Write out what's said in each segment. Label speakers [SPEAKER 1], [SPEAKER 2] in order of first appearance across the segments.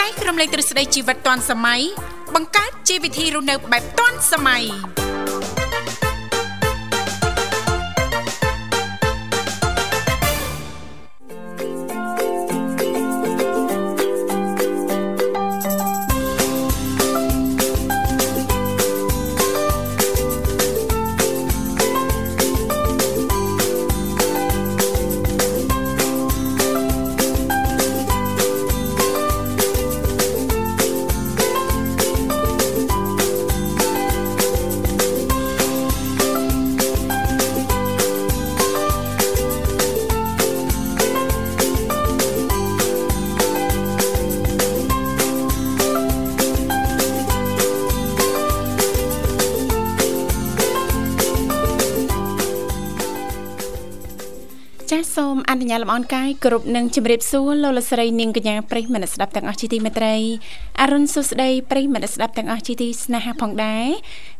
[SPEAKER 1] លេងទ្រឹស្ដីជីវិតទាន់សម័យបង្កើតជីវវិធីរស់នៅបែបទាន់សម័យ
[SPEAKER 2] ចាសសូមអនុញ្ញាតលំអរកាយគ្រប់នឹងជម្រាបសួរលោកលកស្រីនាងកញ្ញាប្រិយមិត្តអ្នកស្ដាប់ទាំងអស់ជាទីមេត្រីអរុនសុស្ដីប្រិយមិត្តអ្នកស្ដាប់ទាំងអស់ជាទីស្នេហាផងដែរ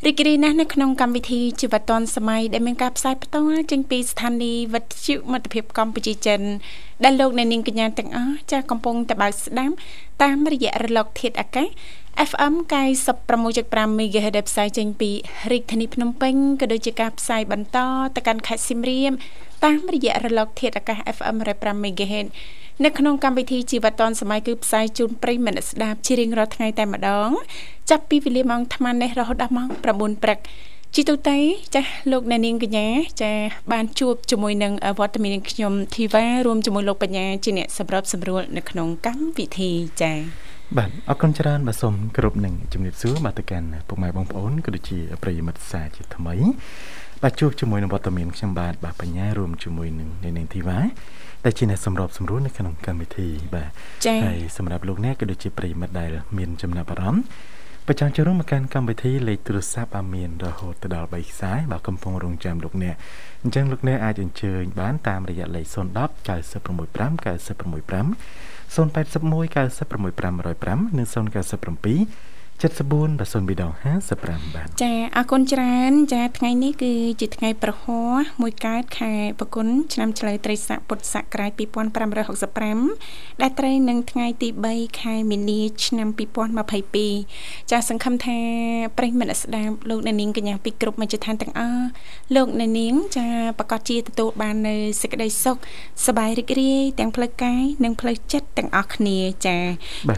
[SPEAKER 2] រីករាយណាស់នៅក្នុងកម្មវិធីជីវិតឌွန်សម័យដែលមានការផ្សាយផ្ទាល់ចេញពីស្ថានីយ៍វិទ្យុមិត្តភាពកម្ពុជាចិនដែលលោកអ្នកនាងកញ្ញាទាំងអស់ចាសកំពុងតបស្ដាប់តាមរយៈរលកធាតុអាកាស FM 96.5 MHz ដែលផ្សាយចេញពីរាជធានីភ្នំពេញក៏ដូចជាការផ្សាយបន្តទៅកាន់ខេត្តសៀមរាបតាមរយៈរលកធាតុអាកាស FM 105 MHz នៅក្នុងកម្មវិធីជីវិតឌွန်សម័យគឺផ្សាយជូនប្រិយមិត្តអ្នកស្ដាប់ជារៀងរាល់ថ្ងៃតែម្ដង ចាប់ពីវេលាម៉ោង8:00នេះរហូតដល់ម៉ោង9:00ព្រឹកជីទូតៃចាស់លោកអ្នកនាងកញ្ញាចាស់បានជួបជាមួយនឹងវត្តមានខ្ញុំធីវ៉ារួមជាមួយលោកបញ្ញាជាអ្នកសម្របសម្រួលនៅក្នុងកម្មវិធីចា៎
[SPEAKER 3] បាទអរគុណច្រើនបាទសូមគ្រប់នឹងជំរាបសួរបាទទៅកាន់ពុកម៉ែបងប្អូនក៏ដូចជាប្រិយមិត្តសាជាថ្មីបាទជួបជាមួយនឹងវត្តមានខ្ញុំបាទបាទបញ្ញារួមជាមួយនឹងអ្នកនាងធីវ៉ាដែលជាអ្នកសម្របសម្រួលនៅក្នុងកម្មវិធីបាទ
[SPEAKER 2] ចា៎
[SPEAKER 3] ហើយសម្រាប់លោកអ្នកក៏ដូចជាប្រិយមិត្តដែលមានចំណាប់អារម្មណ៍ប្រចាំចូលរួមមកកាន់កម្មវិធីលេខទូរស័ព្ទអាមានរហូតទៅដល់3ខ្សែបាទកំពុងរងចាំលោកអ្នកអញ្ចឹងលោកអ្នកអាចអញ្ជើញបានតាមរយៈលេខ010 965 965 081965105និង097 74 02055បាទ
[SPEAKER 2] ចាអរគុណច្រើនចាថ្ងៃនេះគឺជាថ្ងៃប្រហោះមួយកើតខែប្រគុណឆ្នាំឆ្លូវត្រីស័កពុទ្ធសករាជ2565ដែលត្រូវនឹងថ្ងៃទី3ខែមីនាឆ្នាំ2022ចាសង្ឃឹមថាប្រិយមិត្តអ្នកស្ដាប់លោកអ្នកនាងកញ្ញាពីគ្រប់មជ្ឈដ្ឋានទាំងអស់លោកអ្នកនាងចាប្រកាសជាទទួលបាននៅសេចក្តីសុខសប្បាយរីករាយទាំងផ្លូវកាយនិងផ្លូវចិត្តទាំងអស់គ្នាចា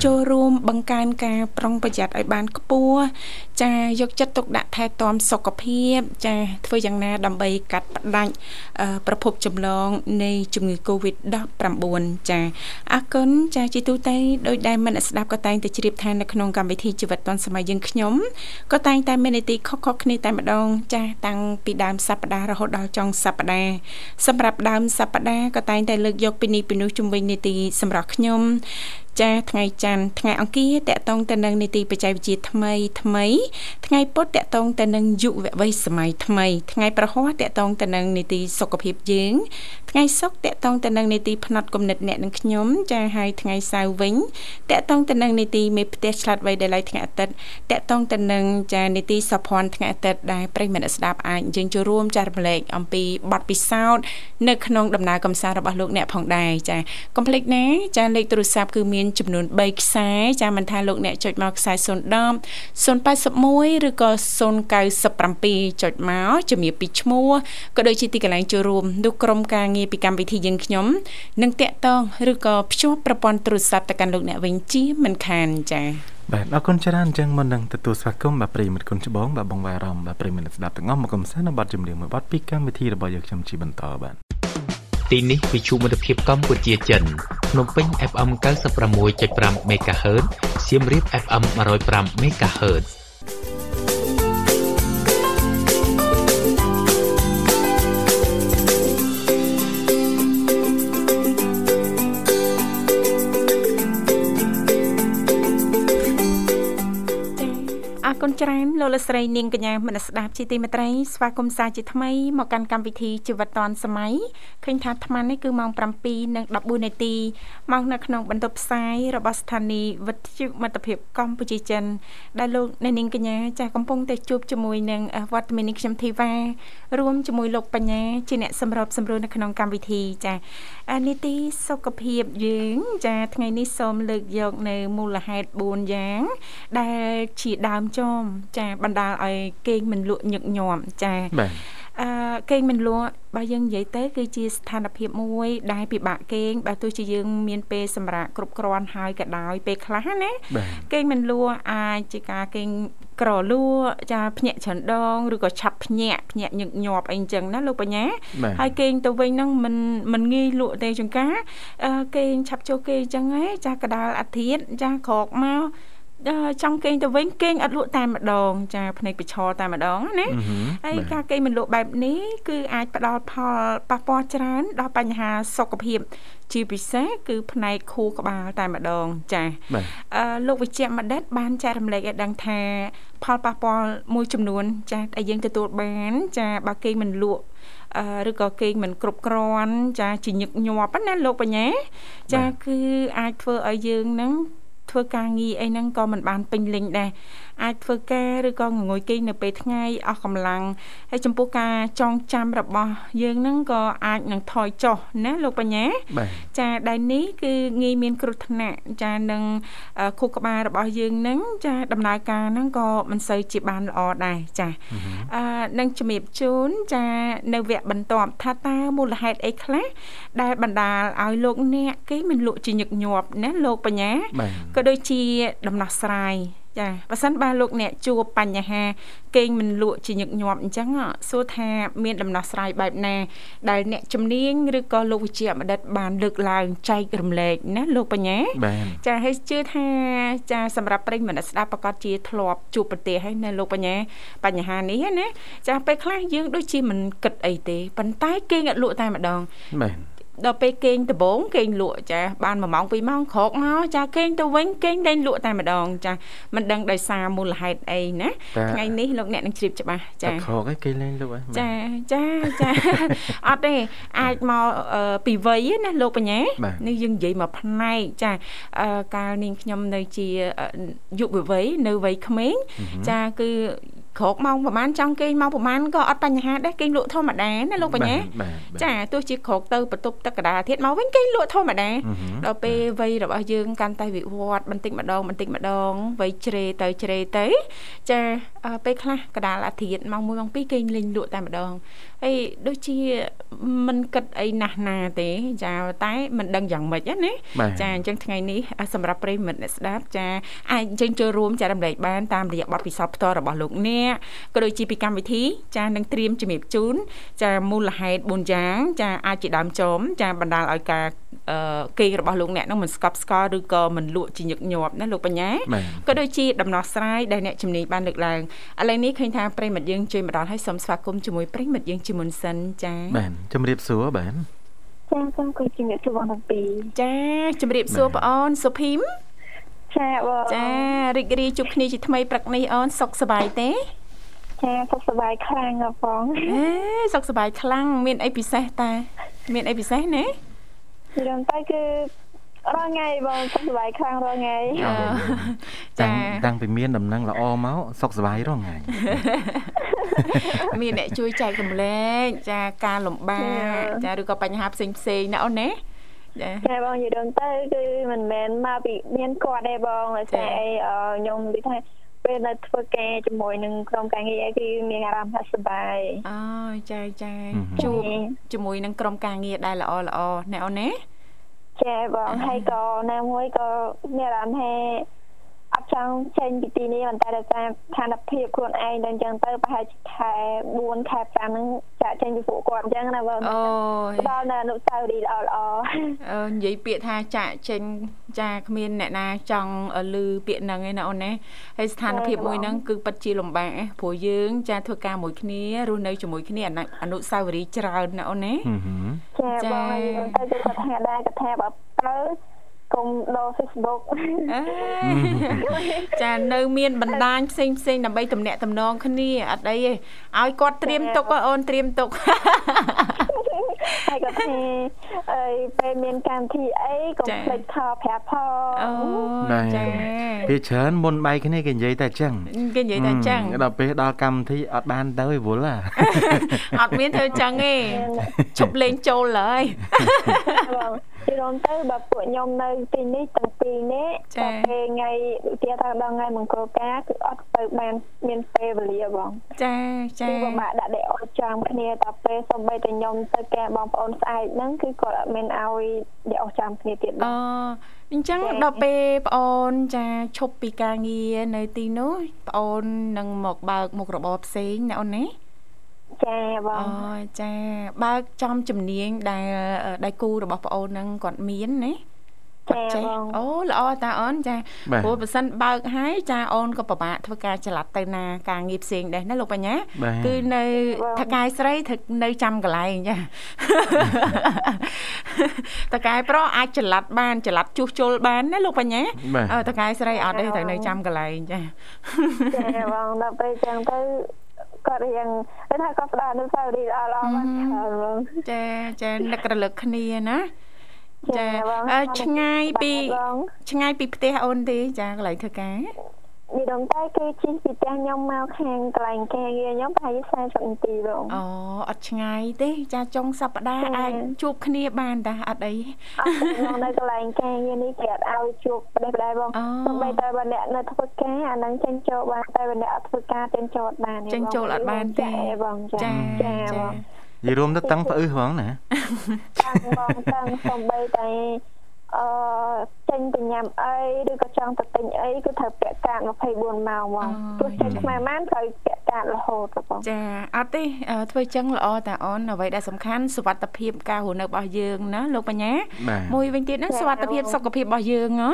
[SPEAKER 2] ចូល ចូលរួមបង្កើនការប្រុងប្រយ័ត្នឲ្យបានខ្ពស់ចាយកចិត្តទុកដាក់ថែទាំសុខភាពចាធ្វើយ៉ាងណាដើម្បីកាត់ផ្តាច់អឺប្រភពចម្លងនៃជំងឺ Covid-19 ចាអរគុណចាជាទូទៅដោយដែលមិនអ្នកស្ដាប់ក៏តែងតែជ្រាបថានៅក្នុងកម្មវិធីជីវិតឌុនសម័យយើងខ្ញុំក៏តែងតែមាននីតិខុសៗគ្នាតែម្ដងចាតាំងពីដើមសប្ដាហ៍រហូតដល់ចុងសប្ដាហ៍សម្រាប់ដើមសប្ដាហ៍ក៏តែងតែលើកយកពីនេះពីនោះជំវិញនីតិសម្រាប់ខ្ញុំ ចាថ្ងៃច័ន្ទថ្ងៃអង្គារតកតងទៅនឹងនីតិបច្ចេកវិទ្យាថ្មីថ្មីថ្ងៃពុធតកតងទៅនឹងយុវវ័យសម័យថ្មីថ្ងៃប្រហ័សតកតងទៅនឹងនីតិសុខភាពយើងថ្ងៃសុក្រតកតងទៅនឹងនីតិផ្នែកគំនិតអ្នកនិងខ្ញុំចាហើយថ្ងៃសៅរ៍វិញតកតងទៅនឹងនីតិមេផ្ទះឆ្លាតវៃដែលឡៃថ្ងៃអាទិត្យតកតងទៅនឹងចានីតិសភ័នថ្ងៃអាទិត្យដែលប្រិយមិត្តអ្នកស្ដាប់អាចយើងចូលរួមចារំលែកអំពីបទពិសោធន៍នៅក្នុងដំណើរកំសាន្តរបស់លោកអ្នកផងដែរចាកុំភ្លេចណាចាលេខទូរស័ព្ទគឺមានចំនួន3ខ្សែចាមិនថាលោកអ្នកចុចមកខ្សែ010 081ឬក៏097ចុចមកជំរាបពីឈ្មោះក៏ដូចជាទីកន្លែងចូលរួមនោះក្រុមការងារពីកម្មវិធីយើងខ្ញុំនឹងតាក់ទងឬក៏ភ្ជាប់ប្រព័ន្ធទូរស័ព្ទទៅកាន់លោកអ្នកវិញជាមិនខានចា៎
[SPEAKER 3] បាទអរគុណច្រើនអញ្ចឹងមុននឹងទទួលស្វាគមន៍បាទប្រិយមិត្តគុណច្បងបាទបងវ៉ារ៉មបាទប្រិយមិត្តអ្នកស្ដាប់ទាំងអស់មកកំសាន្តនៅបទចម្រៀងមួយបទពីកម្មវិធីរបស់យើងខ្ញុំជាបន្តបាទ
[SPEAKER 4] ទីនេះវិទ្យុមិត្តភាពកម្ពុជាចិនភ្នំពេញ FM 96.5 MHz សៀមរាប FM 105 MHz
[SPEAKER 2] អរ គុណច្រើនលោកលកស្រីនាងកញ្ញាមនស្សស្ដាប់ជាទីមេត្រីស្វាគមន៍សាជាថ្មីមកកាន់កម្មវិធីជីវិតឌွန်សម័យឃើញថាអាត្មានេះគឺម៉ោង7:14នាទីមកនៅក្នុងបន្ទប់ផ្សាយរបស់ស្ថានីយ៍វិទ្យុមិត្តភាពកម្ពុជាចិន ដែលលោកអ្នកនាងកញ្ញាចាស់កំពុងតែជួបជាមួយនឹងអ่ะវត្តមាននេះខ្ញុំធីវ៉ារួមជាមួយលោកបញ្ញាជាអ្នកសម្របសម្រួលនៅក្នុងកម្មវិធីចាអ่ะនីតិសុខភាពយើង ចាថ្ងៃនេះសូមលើកយកនៅមូលហេតុ4យ៉ាង ដែលជាដើមចោមចាបណ្ដាលឲ្យគេងមិនលក់ញឹកញាប់ចា
[SPEAKER 3] បាទ
[SPEAKER 2] អឺគេងមិនលក់បើយើងនិយាយទៅគឺជាស្ថានភាពមួយដែលពិបាកគេងបើទោះជាយើងមានពេលសម្រាប់គ្រប់គ្រាន់ហើយក៏ដោយពេលខ្លះណា
[SPEAKER 3] បាទ
[SPEAKER 2] គេងមិនលួអាចជាការគេងក្រលួចាភ្ញាក់ច្រើនដងឬក៏ឆាប់ភ្ញាក់ភ្ញាក់ញឹកញាប់អីអញ្ចឹងណាលោកបញ្ញា
[SPEAKER 3] បាទ
[SPEAKER 2] ហើយគេងទៅវិញហ្នឹងមិនមិនងាយលក់ទេចង្ការអឺគេងឆាប់ចូលគេងអញ្ចឹងហ៎ចាកដាលអាធិតចាក្រកមកអឺចង់គេងទៅវិញគេងអត់លក់តែម្ដង ចាភ្នែកបិឈរតែម្ដងណាហើ
[SPEAKER 3] អឺហឹម
[SPEAKER 2] យ
[SPEAKER 3] បាទ
[SPEAKER 2] ការគេងមិនលក់បែបនេះគឺអាចផ្ដល់ផលប៉ះពាល់ច្រើនដល់បញ្ហាសុខភាព ជាពិសេសគឺផ្នែកខួរក្បាលតែម្ដងចា
[SPEAKER 3] បាទ
[SPEAKER 2] អឺលោកវិជ្ជបណ្ឌិត បានចែករំលែកឲ្យដឹងថា ផលប៉ះពាល់មួយចំនួន ចាដែលយើងទទួលបាន ចាបើគេងមិនលក់អឺឬក៏គេងមិនគ្រប់គ្រាន់ចាជាញឹកញាប់ហ្នឹងណាលោកបញ្ញាចា
[SPEAKER 3] បាទ
[SPEAKER 2] គឺអាចធ្វើឲ្យយើងហ្នឹងធ្វើការងារអីហ្នឹងក៏មិនបានពេញលេញដែរអាចធ្វើការឬក៏ងងុយគេងនៅពេលថ្ងៃអស់កម្លាំងហើយចំពោះការចងចាំរបស់យើងហ្នឹងក៏អាចនឹងថយចុះណាលោកបញ្ញា
[SPEAKER 3] បាទ
[SPEAKER 2] ចាដែលនេះគឺងាយមានគ្រោះថ្នាក់ចានឹងអឺខួរក្បាលរបស់យើងនឹងចាដំណើរការហ្នឹងក៏មិនសូវជាបានល្អដែរចាអឺនឹងជំរាបជូនចានៅវគ្គបន្ទាប់ថាតើមូលហេតុអីខ្លះដែលបណ្ដាលឲ្យលោកអ្នកគេមិនលក់ជាញឹកញាប់ណាលោកបញ្ញា
[SPEAKER 3] បាទ
[SPEAKER 2] ក៏ដូចជាដំណោះស្រាយចាបើសិនបើលោកអ្នកជួបបញ្ហា គេងមិនលក់ជាញឹកញាប់អញ្ចឹងអ្ហ៎សួរថាមានដំណោះស្រាយបែបណា ដែលអ្នកជំនាញឬក៏លោកវិជ្ជាបណ្ឌិតបានលើកឡើងចែករំលែកណាលោកបញ្ញា
[SPEAKER 3] បាទ
[SPEAKER 2] ចាហើយជឿថាចាសម្រាប់ប្រិយមិត្តស្ដាប់ប្រកាសជាធ្លាប់ជួបប្រទេសហើយនៅលោកបញ្ញាបញ្ហានេះហ្នឹងណាចាពេលខ្លះយើងដូចជាមិនគិតអីទេប៉ុន្តែគេងអត់លក់តែម្ដង
[SPEAKER 3] បាទ
[SPEAKER 2] ដល់ពេលគេងដំបងគេងលក់ចាបាន1ម៉ោង2ម៉ោងក្រោកមកចាគេងទៅវិញគេងលែងលក់តែម្ដងចាមិនដឹងដោយសារមូលហេតុអីណា
[SPEAKER 3] តែ
[SPEAKER 2] ថ្ងៃនេះលោកអ្នកនឹងជ្រាបច្បាស់
[SPEAKER 3] តែ
[SPEAKER 2] ចា
[SPEAKER 3] ខកឯងគេលេងលក់ឯង
[SPEAKER 2] ចាចាចា អត់ទេអាចមកអឺពីវ័យណាលោកបញ្ញា
[SPEAKER 3] បាទ
[SPEAKER 2] នេះយើងនិយាយមកផ្នែកចាអឺកាលនាងខ្ញុំនៅជាអឺយុវវ័យនៅវ័យក្មេង ចាគឺក្រោកម៉ោងប្រហែលចង់គេងម៉ោងប្រហែលក៏អត់បញ្ហាដែរគេងលក់ធម្មតាណាលោកបញ្ញា
[SPEAKER 3] បាទបាទ
[SPEAKER 2] ចាទោះជាក្រោកទៅបន្ទប់ទឹកកណ្ដាលធាតមកវិញគេលក់ធម្មតា
[SPEAKER 3] អឺហឹម
[SPEAKER 2] ដល់ពេលវ័យរបស់យើងកាន់តែវិវត្តបន្តិចម្ដងបន្តិចម្ដងវ័យជ្រេទៅជ្រេទៅចាអឺពេលខ្លះកណ្ដាលអាធិតម៉ោង1ម៉ោង2គេលេងលក់តែម្ដងហើយដូចជាមិនគិតអីណាស់ណាទេ ចាតែមិនដឹងយ៉ាងម៉េចណា
[SPEAKER 3] បាទ
[SPEAKER 2] ចាអញ្ចឹងថ្ងៃនេះអ่ะសម្រាប់ប្រិយមិត្តអ្នកស្ដាប់ចាអាចអញ្ចឹងចូលរួមចារំលែកបានតាមរយៈបទពិសោធន៍ផ្ទាល់របស់លោកអ្នកក៏ដូចជាពីកម្មវិធីចានឹងត្រៀមជំរាបជូន ចាមូលហេតុ4យ៉ាងចាអាចជាដើមចោមចាបណ្ដាលឲ្យការអឺគេងរបស់លោកអ្នកហ្នឹងមិនស្កប់ស្កល់ឬក៏មិនលក់ជាញឹកញាប់ណាលោកបញ្ញា
[SPEAKER 3] បាទ
[SPEAKER 2] ក៏ដូចជាដំណោះស្រាយដែលអ្នកជំនាញបានលើកឡើងឥឡូវនេះឃើញថាប្រិមិត្តយើងជួយមកដល់ហើយសូមស្វាគមន៍ជាមួយប្រិមិត្តយើងជាមុនសិនចា
[SPEAKER 3] បាទជំរាបសួរបាទ
[SPEAKER 5] ចាសូមគោរពជំរាបសួរបងទាំងពីរ
[SPEAKER 2] ចាជំរាបសួរបងអូនសុភីម
[SPEAKER 5] ចាបង
[SPEAKER 2] ចារីករាយជួបគ្នាជាថ្មីព្រឹកនេះអូនសុខសប្បាយទេ
[SPEAKER 5] ចាសុខសប្បាយខ្លាំងណាស់បង
[SPEAKER 2] អេសុខសប្បាយខ្លាំងមានអីពិសេសតា មានអីពិសេសណា
[SPEAKER 5] និយាយទៅគឺរងថ្ងៃបងសុខសប្បាយខ្លាំងរងថ្ងៃ
[SPEAKER 2] អឺចា
[SPEAKER 3] តាំងតាំងពីមានដំណឹងល្អមកសុខសប្បាយរងថ្ងៃ
[SPEAKER 2] មានអ្នកជួយចែករំលែកចាការលំបាកចាឬក៏បញ្ហាផ្សេងផ្សេងៗណាអូនណាចា
[SPEAKER 5] ចាបងនិយាយទៅគឺមិនមែនមកពីមានគាត់ទេបងតែស្អីអឺខ្ញុំនិយាយថាពេលដែលធ្វើការជាមួយនឹងក្រុមការងារគឺមានអារម្មណ៍ថាសប្បាយ
[SPEAKER 2] អូយចាចា
[SPEAKER 3] ហឹម
[SPEAKER 2] ជួបជាមួយនឹងក្រុមការងារដែលល្អល្អណាអូនណា
[SPEAKER 5] ចាបងហើយក៏ណាមួយក៏មានអារម្មណ៍ថាអត់ចង់ចេញពីទីនេះប៉ុន្តែដោយសារស្ថានភាពខ្លួនឯងដល់អញ្ចឹងទៅប្រហែលជាខែ4ខែ5ហ្នឹងចាក់ចេញពីពួកគាត់អញ្ចឹងណាបង
[SPEAKER 2] អូយ
[SPEAKER 5] ដល់នៅអនុស្សាវរីយ៍ល្អល្អ
[SPEAKER 2] អឺនិយាយពាក្យថាចាក់ចេញចាគ្មានអ្នកណាចង់ឮពាក្យហ្នឹងឯណាអូនណាហើយស្ថានភាពមួយហ្នឹងគឺពិតជាលំបាកណាស់ព្រោះយើង ចាធ្វើការមួយគ្នារស់នៅជាមួយគ្នាអនុអនុស្សាវរីយ៍ច្រើនណាអូនណា
[SPEAKER 3] ហឹមហឹម
[SPEAKER 5] ៗចាបង
[SPEAKER 2] ចា៎
[SPEAKER 5] ហើយយើងទៅគឺគាត់ថាដែរគាត់ថាបើទៅក មដល់ Facebook
[SPEAKER 2] អេ ចានៅមានបណ្ដាញផ្សេងផ្សេងៗដើម្បីទំនាក់ទំនងគ្នាអត់អីទេឲ្យគាត់ត្រៀមទុកអូនត្រៀមទុក
[SPEAKER 5] ហើយគាត់ថាអីពេលមានកម្មវិធីអីកុំ
[SPEAKER 2] ចា៎
[SPEAKER 5] ភ្លេចខលប្រាប់ផង
[SPEAKER 2] អូ
[SPEAKER 3] បាទ
[SPEAKER 2] ចា
[SPEAKER 3] ពីច្រើនមុនបែកគ្នាគេនិយាយតែអញ្ចឹង
[SPEAKER 2] គេនិយាយតែអញ្ចឹង
[SPEAKER 3] មដល់ពេលដល់កម្មវិធីអត់បានទៅឯវល់ហ่ะ
[SPEAKER 2] អត់មានធ្វើអញ្ចឹង ទេជប់លេងចូលហើយ
[SPEAKER 5] បងពីរំទៅបើពួកខ្ញុំនៅទីនេះតាំងពីនេះតែពេលថ្ងៃឧទាហរណ៍ថាដល់ថ្ងៃមង្គលការគឺអត់ទៅបានមានពេលវេលាបង
[SPEAKER 2] ចាចា
[SPEAKER 5] គឺពិបាកដាក់ដេកអត់ចាំគ្នាតែពេលសំបីតែខ្ញុំទៅកែបងប្អូនស្អែកហ្នឹងគឺគាត់អត់មានឲ្យដេកអត់ចាំគ្នាទៀតប
[SPEAKER 2] អូ
[SPEAKER 5] ង
[SPEAKER 2] អញ្ចឹងដល់ពេលប្អូនចាឈប់ពីការងារនៅទីនោះប្អូននឹងមកបើកមុខរបរផ្សេងណាអូនណា
[SPEAKER 5] ចាប
[SPEAKER 2] អូ
[SPEAKER 5] ង
[SPEAKER 2] ចាបើកចំជំនាញដែលអឺដៃគូរបស់បងអូនហ្នឹងគាត់មានណា
[SPEAKER 5] ចា
[SPEAKER 2] ចេះ
[SPEAKER 5] បង
[SPEAKER 2] អូល្អតាអូនចា
[SPEAKER 3] បាទ
[SPEAKER 2] ព្រោះបើសិនបើកហើយចាអូនក៏ពិបាកធ្វើការចល័តទៅណាការងារផ្សេងដែរណាលោកបញ្ញា
[SPEAKER 3] បាទ
[SPEAKER 2] គឺនៅថកាយស្រីថឹកនៅចាំកន្លែងចា តកាយប្រុសអាចចល័តបានចល័តជួសជុលបានណាលោកបញ្ញា
[SPEAKER 3] បាទ
[SPEAKER 2] អឺតកាយស្រីអត់ទេត្រូវនៅចាំកន្លែងចា
[SPEAKER 5] ចាបងដល់ពេលចឹងទៅគាត់រៀងគេថាគាត់ផ្ដល់អនុស្សាវរីយ៍ល្អៗមកច្រើនបង
[SPEAKER 2] ចាចានឹករលឹកគ្នាណាចា
[SPEAKER 5] ចាបង
[SPEAKER 2] អឺឆ្ងាយពី
[SPEAKER 5] បាទបង
[SPEAKER 2] ឆ្ងាយពីផ្ទះអូនទេចាកន្លែងធ្វើការ
[SPEAKER 5] ពីរំទៅគឺជិះពីផ្ទះខ្ញុំមកខាងកន្លែងការងារខ្ញុំប្រហែលជា40នាទីបង
[SPEAKER 2] អូអត់ឆ្ងាយទេ ចាចុងសប្តាហ៍
[SPEAKER 5] ចា
[SPEAKER 2] អាចជួបគ្នាបានតាអត់អី
[SPEAKER 5] អត់ទៅមកនៅកន្លែងការងារនេះគេអត់ឲ្យជួបប្តេះប្តែបង
[SPEAKER 2] អូ
[SPEAKER 5] សំបីតែបើអ្នកនៅធ្វើការអាហ្នឹងចេញចូលបានតែបើអ្នកអត់ធ្វើការចេញចូលអត់បានទេ
[SPEAKER 2] ចេញចូលអត់បានទេ
[SPEAKER 5] ចាបង
[SPEAKER 2] ចា
[SPEAKER 5] ចា
[SPEAKER 2] ចា
[SPEAKER 5] ចាបង
[SPEAKER 3] និយាយរួមទៅតឹងផ្អឺហ្មងណា
[SPEAKER 5] តាំងបងតាំងសំបីតែអឺចេញទៅញ៉ាំអីឬក៏ចង់ទៅទិញអីគឺត្រូវពាក់កាត24ម៉ោងហ្មងទោះចេញខ្មែរបានត្រូវពាក់កាតរហូតបង
[SPEAKER 2] ចាអត់ទេអឺធ្វើចឹងល្អតាអូនអ្វីដែលសំខាន់សុវត្ថិភាពការរស់នៅរបស់យើងណាលោកបញ្ញា
[SPEAKER 3] បាទ
[SPEAKER 2] មួយវិញទៀតហ្នឹង
[SPEAKER 5] ចា
[SPEAKER 2] សុវត្ថិភាព
[SPEAKER 5] បង
[SPEAKER 2] សុខភាពរបស់យើងហ៎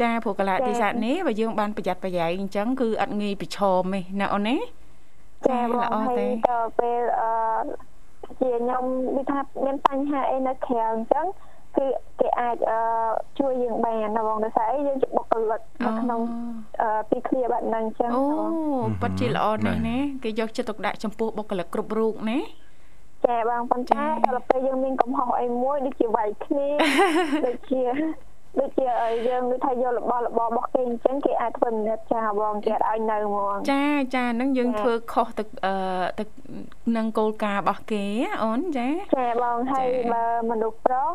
[SPEAKER 2] ចាព្រោះកលៈ
[SPEAKER 5] ចា
[SPEAKER 2] ទេសៈនេះបើយើងបានប្រយ័ត្នប្រយែងអញ្ចឹងគឺអត់ងាយប្រឈមទេណាអូនណា
[SPEAKER 5] ចាបង
[SPEAKER 2] ល្អ
[SPEAKER 5] ហើយ
[SPEAKER 2] ទេ
[SPEAKER 5] ដល់ពេលអឺជាខ្ញុំនិយាយថាមានបញ្ហាអីនៅក្រៅអញ្ចឹងគឺគេអាចអឺជួយយើងបានណាបងដោយសារអីយើងជាបុគ្គលិកនៅក្នុងអឺពីគ្រាបែបហ្នឹងអញ្ចឹង
[SPEAKER 2] អូប៉ាត់ជាល្អណាស់
[SPEAKER 3] បាទ
[SPEAKER 2] ណាគេយកចិត្តទុកដាក់ចំពោះបុគ្គលិកគ្រប់រូបណា
[SPEAKER 5] ចាបងប៉ុន្តែដល់ពេលយើងមានកំហុសអីមួយដូចជាវាយគ្នាដូចជាដូចជាអីយើងនិយាយថាយករបស់របររបស់គេអញ្ចឹងគេអាចធ្វើមិនដឹងចាបងគេអាចឲ្យនៅហ្មង
[SPEAKER 2] ចាចាហ្នឹងយើង
[SPEAKER 5] ចា
[SPEAKER 2] ធ្វើខុសទៅអឺទៅនឹងគោលការណ៍របស់គេណាអូនចា
[SPEAKER 5] ចាបងហើយ
[SPEAKER 2] ចា
[SPEAKER 5] បើមនុស្សប្រុស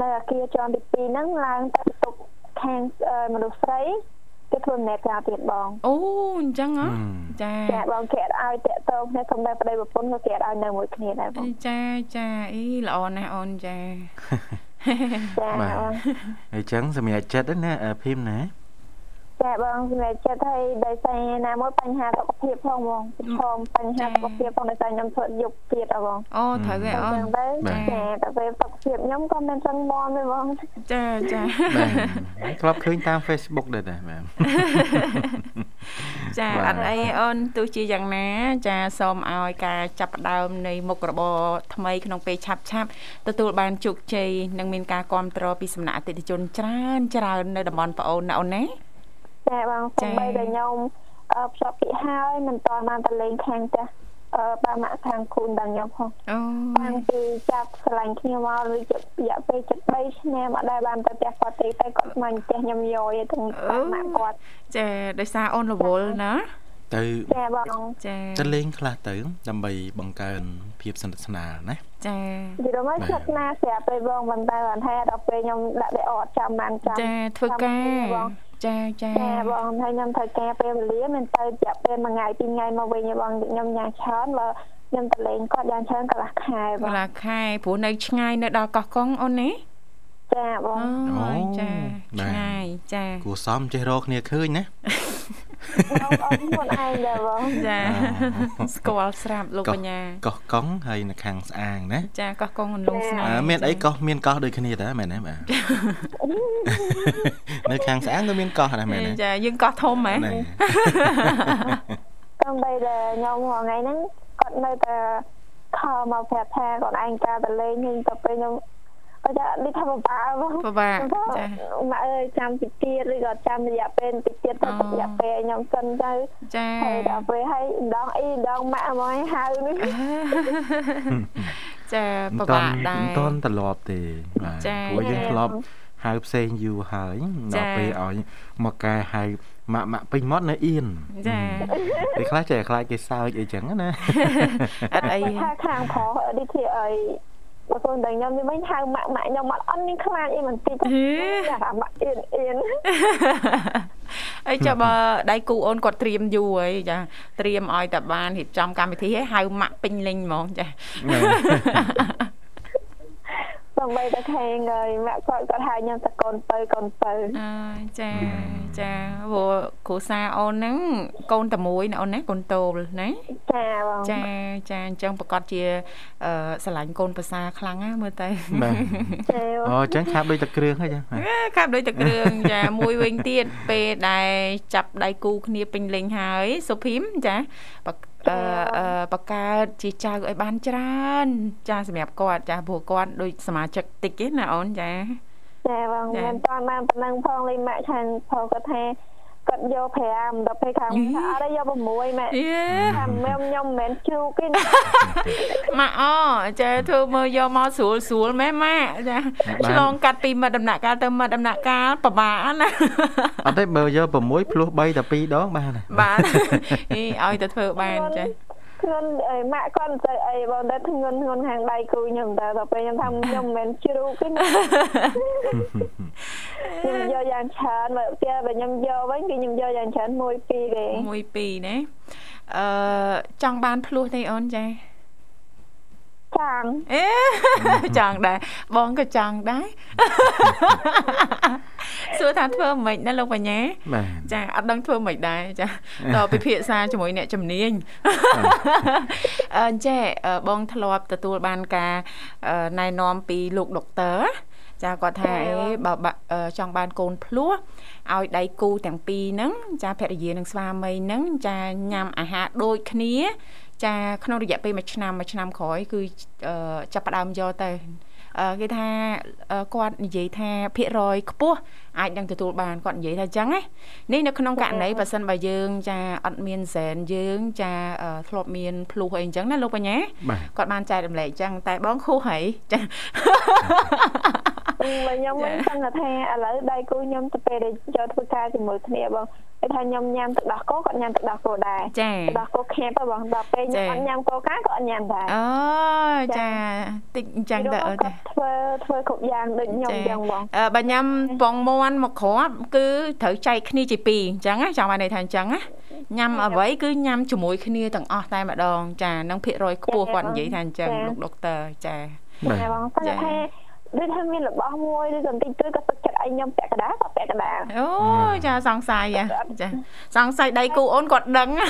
[SPEAKER 5] នៅអាគារជាន់ទី2ហ្នឹងឡើងទៅបន្ទប់ខាងអឺមនុស្សស្រីគេធ្វើម្នាក់ការទៀតបង
[SPEAKER 2] អូអញ្ចឹងហ៎
[SPEAKER 3] ហឹម
[SPEAKER 2] ចា
[SPEAKER 5] ចាបងគេអត់ឲ្យតាក់ទងគ្នាសំដែងប្តីប្រពន្ធក៏គេអត់ឲ្យនៅមួយគ្នាដែរបង
[SPEAKER 2] ចាចាអីល្អណាស់អូនចា
[SPEAKER 5] ចា
[SPEAKER 3] បាទ
[SPEAKER 5] បង
[SPEAKER 3] អញ្ចឹងសម្រាប់ចិត្តហ្នឹងណាអឺភីមណា
[SPEAKER 5] ចាបងសម្រាប់ចិត្តឲ្យដោយសារណាមួយបញ្ហាសុខភាពផងបងប្រឈមបញ្ហាសុខភាពផងដោយសារខ្ញុំធ្វើយប់ទៀតអ่ะបង
[SPEAKER 2] អូត្រូវហើយអូន
[SPEAKER 5] ចឹងទៅចាតែពេលសុខភាពខ្ញុំក៏មិនចឹងមកទេបង
[SPEAKER 2] ចាចា
[SPEAKER 3] បាទធ្លាប់ឃើញតាម Facebook ដែរតាបាទ
[SPEAKER 2] ចា
[SPEAKER 3] បា
[SPEAKER 2] អ
[SPEAKER 3] ទ
[SPEAKER 2] ត់អីអូនទោះជាយ៉ាងណា ចាសូមឲ្យការចាប់ផ្ដើមនៃមុខរបរថ្មីក្នុងពេលឆាប់ឆាប់ទទួលបានជោគជ័យនិងមានការគ្រប់គ្រងពីសំណាក់អតិថិជនច្រើនច្រើននៅតំបន់ប្អូនណាអូនណា
[SPEAKER 5] ចាបងសំបីតែខ្ញុំអឺផ្សព្វពីហើយមិនតបានទៅលេងខាងចាស់អឺបាម៉ាក់ខាងគូនដល់ខ្ញុំផង
[SPEAKER 2] អូ
[SPEAKER 5] តាំងពីចាប់ឆ្លាញ់គ្នាមករយៈរយៈពេល73ឆ្នាំអត់ដែលបានទៅផ្ទះគាត់ទេតែគាត់ស្មានផ្ទះខ្ញុំយយទាំងបាក់ម៉ាក់គាត់
[SPEAKER 2] ចាដោយសារអូនរវល់ណា
[SPEAKER 3] ទៅ
[SPEAKER 5] ចាបង
[SPEAKER 2] ចា
[SPEAKER 3] ចិត្តលេងខ្លះទៅ ដើម្បីបង្កើនភាពសន្តិស្នាលណា
[SPEAKER 2] ចា
[SPEAKER 5] និយាយមកឈប់ណាស្រាប់ទៅបងមិនតែបានថាដល់ពេលខ្ញុំដាក់ដៃអត់ចាំបានចាំ
[SPEAKER 2] ចាធ្វើការចាចា
[SPEAKER 5] ចាបងហើយខ្ញុំធ្វើការពេលវេលាមិនទៅរយៈពេលមួយថ្ងៃពីរថ្ងៃមកវិញទេបងខ្ញុំញ៉ាំច្រើនបើខ្ញុំទៅលេងគាត់យ៉ាងច្រើនកន្លះខែប
[SPEAKER 2] កា
[SPEAKER 5] ង
[SPEAKER 2] លាខែព្រោះនៅឆ្ងាយនៅដល់កោះកុងអូននេះ
[SPEAKER 5] ចាបង
[SPEAKER 2] អូ
[SPEAKER 3] អូ
[SPEAKER 2] ចា
[SPEAKER 3] បាទ
[SPEAKER 2] ឆ្ងាយចា
[SPEAKER 3] គួរសមចេះរកគ្នាឃើញ ណា
[SPEAKER 5] បងអរខ្លួនឯងដែរបង
[SPEAKER 2] ចាស្គាល់ស្រាប់លោក
[SPEAKER 3] កោះ
[SPEAKER 2] បញ្ញា
[SPEAKER 3] កោះកុងហើយនៅខាងស្អាងណា
[SPEAKER 2] ចាកោះកុងអន្លង់ស្នេ
[SPEAKER 3] អឺ
[SPEAKER 2] ហ៍
[SPEAKER 3] មានអីកោះមានកោះដូចគ្នាតាមែនទេ បាទ នៅខាងស្អាងក៏មានកោះដែរមែនទេ
[SPEAKER 2] ចាយើងកោះធំហ៎
[SPEAKER 3] ណែ
[SPEAKER 5] តាមបីដែលខ្ញុំរាល់ថ្ងៃហ្នឹងគាត់នៅតែខលមកប្រាប់ថាគាត់ឯងការទៅលេងហ្នឹងទៅពេលខ្ញុំអ ចាដូចថាបបាបង
[SPEAKER 2] ពិបាកចា
[SPEAKER 5] ម៉ាក់អើយចាំតិចទៀតឬក៏ចាំរយៈពេលតិចទៀតទៅ
[SPEAKER 2] អូ
[SPEAKER 5] រយៈពេលឲ្យខ្ញុំសិនទៅ
[SPEAKER 2] ចា
[SPEAKER 5] ហើយដល់ពេលឲ្យម្ដងអ៊ីម្ដងម៉ាក់មកឲ្យហៅនេះ
[SPEAKER 2] ចាពិបាកដែរ
[SPEAKER 3] មិនតន់ត្រឡប់ទេបាទ
[SPEAKER 2] ចា៎
[SPEAKER 3] ព្រោះយើងធ្លាប់ហៅផ្សេងយូរហើយ
[SPEAKER 2] ចា៎
[SPEAKER 3] ដល់ពេលឲ្យមកកែហៅម៉ាក់ម៉ាក់ពេញមាត់នៅអៀន
[SPEAKER 2] ចា
[SPEAKER 3] ពេលខ្លះចេះខ្លាចគេសើចអីចឹង ណា
[SPEAKER 2] អត់អី
[SPEAKER 5] គាត់ថាខាងប្រុសដូចជាឲ្យបើខ្លួនដល់ខ្ញុំនេះវិញហៅម៉ាក់ម៉ាក់ខ្ញុំអត់អន់នេះខ្លាចអីមិនតិចចាអាម៉ាក់អៀនអៀន
[SPEAKER 2] អីចាបើដៃគូអូនគាត់ត្រៀមយូរហើយចាត្រៀមឲ្យតាបានរៀបចំកម្មវិធីឲ្យហៅម៉ាក់ពេញលេងហ្មងចា
[SPEAKER 5] សំបីតែខេងហើយម៉ាក់គាត់គាត់ហៅខ្ញុំតែកូនបើកូនបើ
[SPEAKER 2] អើចា
[SPEAKER 3] អឺ
[SPEAKER 2] ចាព្រោះគ្រូសាអូនហ្នឹងកូនតែមួយណាអូនណាកូនតូលណា
[SPEAKER 5] ចាបង
[SPEAKER 2] ចាចាអញ្ចឹងប្រកាសជាអឺស្រឡាញ់កូនប្រសាខ្លាំងណាមើលទៅ
[SPEAKER 3] បាទ
[SPEAKER 5] ចាបង
[SPEAKER 3] អូចឹងខាប់ដូចតែគ្រឿងហ្នឹងចឹងបាទ
[SPEAKER 2] អេ កាប់ដូចតែគ្រឿងចាមួយវិញទៀតពេលដែលចាប់ដៃគូគ្នាពេញលេងហើយសុភីមចាបកអឺអឺបកកើតជាចៅឲ្យបានច្រើន ចាសម្រាប់គាត់ចាព្រោះគាត់ដូចសមាជិកតិចទេណាអូនចា
[SPEAKER 5] ចាបង
[SPEAKER 2] ចា
[SPEAKER 5] មិនតាន់បានប៉ុណ្ណឹងផងលេងម៉ាក់ខាងផងគាត់ថាគាត់យក5ដល់ពេលខាង
[SPEAKER 2] អី
[SPEAKER 5] ថាអត់ទេយក6ម៉ាក់
[SPEAKER 2] យេ
[SPEAKER 5] ខាងខ្ញុំខ្ញុំមិនមែនជ្រូកទេណា
[SPEAKER 2] ម៉ាក់អចេះធ្វើមើលយកមកស្រួលស្រួលម៉ែម៉ាក់ចា
[SPEAKER 3] បាន
[SPEAKER 2] ឆ្លងកាត់ពីមាត់ដំណាក់កាលទៅមាត់ដំណាក់កាលពិបាកណា ស់
[SPEAKER 3] អត់ទេបើយក6 plus 3តែ2ដងបានហើយ
[SPEAKER 2] បាទអីឲ្យទៅធ្វើបានចា
[SPEAKER 5] ធ្ងន់អីម៉ាក់គាត់មិនទៅអីបងតែធ្ងន់ធ្ងន់ខាងដៃគូខ្ញុំតែដល់ពេលខ្ញុំថាខ្ញុំមិនមែនជ្រូកទេណាខ្ញុំយកយ៉ាងច្រើនបើទៀតបើខ្ញុំយកវិញគឺខ្ញុំយកយ៉ាងច្រើន1 2ទេ
[SPEAKER 2] មួយពីរណាអឺចង់បានភ្លោះទេអូនចា
[SPEAKER 5] ខាង
[SPEAKER 2] អេចង់ដែរបងក៏ចង់ដែរសួរថាធ្វើមិនណាលោកបញ្ញា
[SPEAKER 3] បាទ
[SPEAKER 2] ចាអត់ដឹងធ្វើមិនដែរចាតពិភាក្សាជាមួយអ្នកជំនាញ អឺចេះអឺបងធ្លាប់ទទួលបានការអឺណែនាំពីលោកដុកទ័រចាគាត់ថាអេបើបាក់អឺចង់បានកូនភ្លោះឲ្យដៃគូទាំងពីរហ្នឹងចាភរិយានិងស្វាមីហ្នឹងចាញ៉ាំអាហារដូចគ្នា ចាក្នុងរយៈពេលមួយឆ្នាំមួយឆ្នាំក្រោយគឺអឺចាប់ផ្ដើមយកទៅអឺគេថាអឺគាត់និយាយថាភាគរយខ្ពស់អាចនឹងទទួលបានគាត់និយាយថាអញ្ចឹងណានេះនៅក្នុងករណីបើសិនបើយើង ចាអត់មានសែនយើងចាអឺធ្លាប់មានភ្លុះអីអញ្ចឹងណាលោកបញ្ញា
[SPEAKER 3] បាទ
[SPEAKER 2] គាត់បានចែករំលែកអញ្ចឹងតែបងខុសហើយចា
[SPEAKER 5] បើខ្ញុំមិន
[SPEAKER 2] ចា
[SPEAKER 5] ដឹងថាឥឡូវដៃគូខ្ញុំទៅពេលដែលយកធ្វើការជាមួយគ្នាបងគេថាខ្ញុំញ៉ាំទឹកដោះគោគាត់ញ៉ាំទឹកដោះគោដែរ
[SPEAKER 2] ចា
[SPEAKER 5] ដល់កូខាប់ទៅបងដល់ពេល
[SPEAKER 2] ចា
[SPEAKER 5] ខ្ញុំអត់ញ៉ាំកូកាក៏អត់ញ៉ាំដែរ
[SPEAKER 2] អូចាតិចអញ្ចឹងទៅអូនចា
[SPEAKER 5] ពីនោះគាត់ធ្វើធ្វើគ្រប់យ៉ាងដូចខ្ញុំអញ្ចឹងបង
[SPEAKER 2] អឺបើញ៉ាំពងមាន់មកគ្រាប់គឺត្រូវចែកគ្នាជាពីរអញ្ចឹងណាចង់បានន័យថាអញ្ចឹងណាញ៉ាំអ្វីគឺញ៉ាំជាមួយគ្នាទាំងអស់តែម្ដង ចានឹងភាគរយខ្ពស់គាត់និយាយថាអញ្ចឹងលោកដុកទ័រចា
[SPEAKER 3] បាទ
[SPEAKER 5] តែបងគាត់ថាដូចថាមានរបស់មួយឬក៏បន្តិចតួចក៏ទឹកចិត្តឲ្យខ្ញុំពាក់កណ្ដាលក៏ពាក់កណ្ដាល
[SPEAKER 2] អូចាសង្ស័យហ៎ចាសង្ស័យដៃគូអូនគាត់ដឹងណា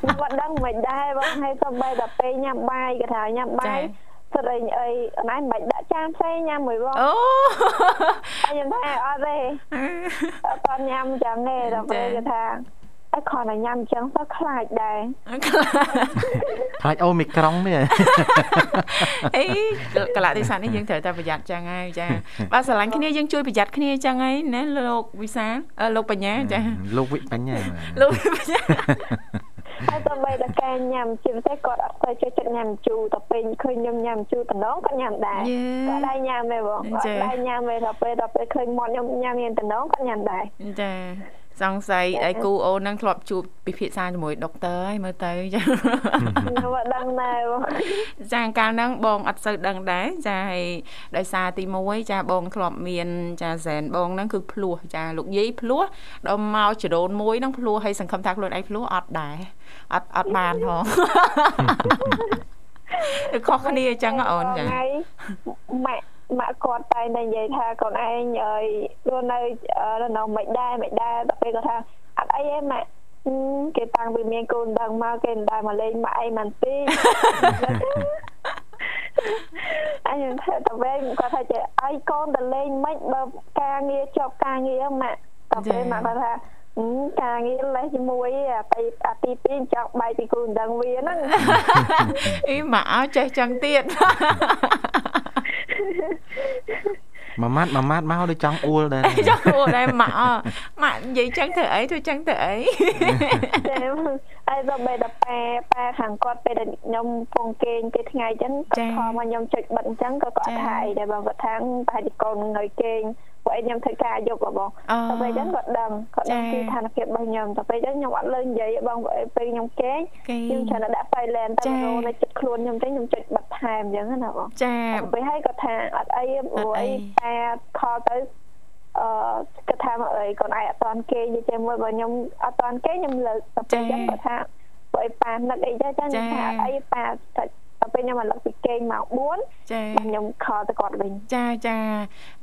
[SPEAKER 5] ខ្ញុំគាត់ដឹងមិនដែរបងហើយសំបីដល់ពេលញ៉ាំបាយក៏ថាញ៉ាំបាយ
[SPEAKER 2] ចា
[SPEAKER 5] ស្រីអីអណៃមិនបាច់ដាក់ចានផ្សេងញ៉ាំមួយបង
[SPEAKER 2] អូ
[SPEAKER 5] ហើយខ្ញុំថាអត់ទេអត់ទាន់ញ៉ាំអញ្ចឹងទេដល់ពេលគេថាអត់ខនឲ្យញ៉ាំអញ្ចឹងទៅខ្លាចដែរ
[SPEAKER 2] ខ្លា
[SPEAKER 3] ខ្លាចអូមីក្រុងនេះ
[SPEAKER 2] អីកលៈទេសៈនេះយើងត្រូវតែប្រយ័ត្នចឹងហើយចាបាទស្រឡាញ់គ្នាយើងជួយប្រយ័ត្នគ្នាចឹងហើយណាលោកវិសាលអឺលោកបញ្ញាចា
[SPEAKER 3] លោកវិបញ្ញា
[SPEAKER 2] លោកបញ្ញា
[SPEAKER 5] ហើយសំបីដល់ការញ៉ាំជាពិសេសគាត់អត់ទៅចូលចិត្តញ៉ាំជូរដល់ពេលឃើញខ្ញុំញ៉ាំជូរតំណងគាត់ញ៉ាំដែរ
[SPEAKER 2] យេ
[SPEAKER 5] គាត់ដែរញ៉ាំទេបង
[SPEAKER 2] ចា៎
[SPEAKER 5] គាត់ដែរញ៉ាំទេដល់ពេលដល់ពេលឃើញមាត់ខ្ញុំញ៉ាំមានតំណងគាត់ញ៉ាំដែរ
[SPEAKER 2] ចាសង្ស័យដៃគូអូននឹងធ្លាប់ជួបពិភាក្សាជាមួយដុកទ័រហើយមើលទៅ ចា
[SPEAKER 5] ខ្ញុំអត់ដឹងដែរបង
[SPEAKER 2] ចាកាលហ្នឹងបងអត់សូវដឹងដែរចាហើយដោយសារទី1ចាបងធ្លាប់មាន ចាសែនបងហ្នឹងគឺភ្លោះចាលោកយាយភ្លោះដល់មកចរូនមួយហ្នឹងភ្លោះហើយសង្ឃឹមថាខ្លួនឯងភ្លោះអត់ដែរអត់អត់បានហង គឺ ខុសគ្នាអញ្ចឹងហ៎អូនចា
[SPEAKER 5] ថ្ងៃម៉ាក់ម៉ាក់គាត់តែងតែនិយាយថាកូនឯងឲ្យរស់នៅអឺរស់នៅមិនដែរមិនដែរដល់ពេលគាត់ថាអត់អីទេម៉ាក់ហឹម គេតាំងពីមានកូនដឹងមកគេមិនដែរមកលេងម៉ាក់អី មិនទី អញមិនថាតវិញគាត់ថាចេះឲ្យកូនទៅលេងមិនបើការងារចប់ការងារម៉ាក់តទៅម៉ាក់គាត់ថាហឹមការងារលេសជាមួយអាទីអាទីពីរចង់បាយពីគូដណ្ដឹងវាហ្នឹង
[SPEAKER 2] អីមកឲ្យចេះចឹងទៀត
[SPEAKER 3] មួយម៉ាត់មួយម៉ាត់មកដូចចង់អួលដែរ
[SPEAKER 2] ចង់ខ្លួនដែរម៉ាក់អម៉ាក់និយាយចឹងធ្វើអីធ្វើចឹងធ្វើអី
[SPEAKER 5] តែហើយដល់ពេលដល់ប៉ែប៉ែខាងគាត់ពេលដែលខ្ញុំពងគេងពេលថ្ងៃអញ្ចឹង
[SPEAKER 2] ចា៎
[SPEAKER 5] គាត់ខលមកខ្ញុំចុចបិទអញ្ចឹងក៏គាត់ថាអីដែរបងគាត់ថាប្រហែលជាកូននឹងនៅគេងពួកឯងខ្ញុំធ្វើការយប់ហ៎បង
[SPEAKER 2] អូ
[SPEAKER 5] ដល់ពេលអញ្ចឹងគាត់ដឹងគាត់ដឹង
[SPEAKER 2] ចា៎
[SPEAKER 5] ពីស្ថានភាពរបស់ខ្ញុំដល់ពេលអញ្ចឹងខ្ញុំអត់លើនិយាយទេបងពួកឯងពេលខ្ញុំគេង
[SPEAKER 2] គេ
[SPEAKER 5] ខ្ញុំច្រើនតែដាក់ silent តែ
[SPEAKER 2] ចា៎
[SPEAKER 5] រោនៅចិត្តខ្លួនខ្ញុំទេខ្ញុំចុចបិទថែមអញ្ចឹងណាបង
[SPEAKER 2] ចា
[SPEAKER 5] ពេលហើយគាត់ថាអត់អីទេព្រោះ
[SPEAKER 2] អត់អី
[SPEAKER 5] អីតែខលទៅអឺគាត់ថាមកអីកូនឯងអត់តាន់គេនិយាយជាមួយបើខ្ញុំអត់តាន់គេខ្ញុំលើកទៅពេលចឹងគាត់ថាបើអីប៉ានឹកអីដែរចឹងខ្ញុំថាអត់អីប៉ាតែទៅពេលខ្ញុំមកលើកពីគេងមក4បាទ
[SPEAKER 2] ចា
[SPEAKER 5] ខ្ញុំខលទៅគាត់វិញ
[SPEAKER 2] ចាចា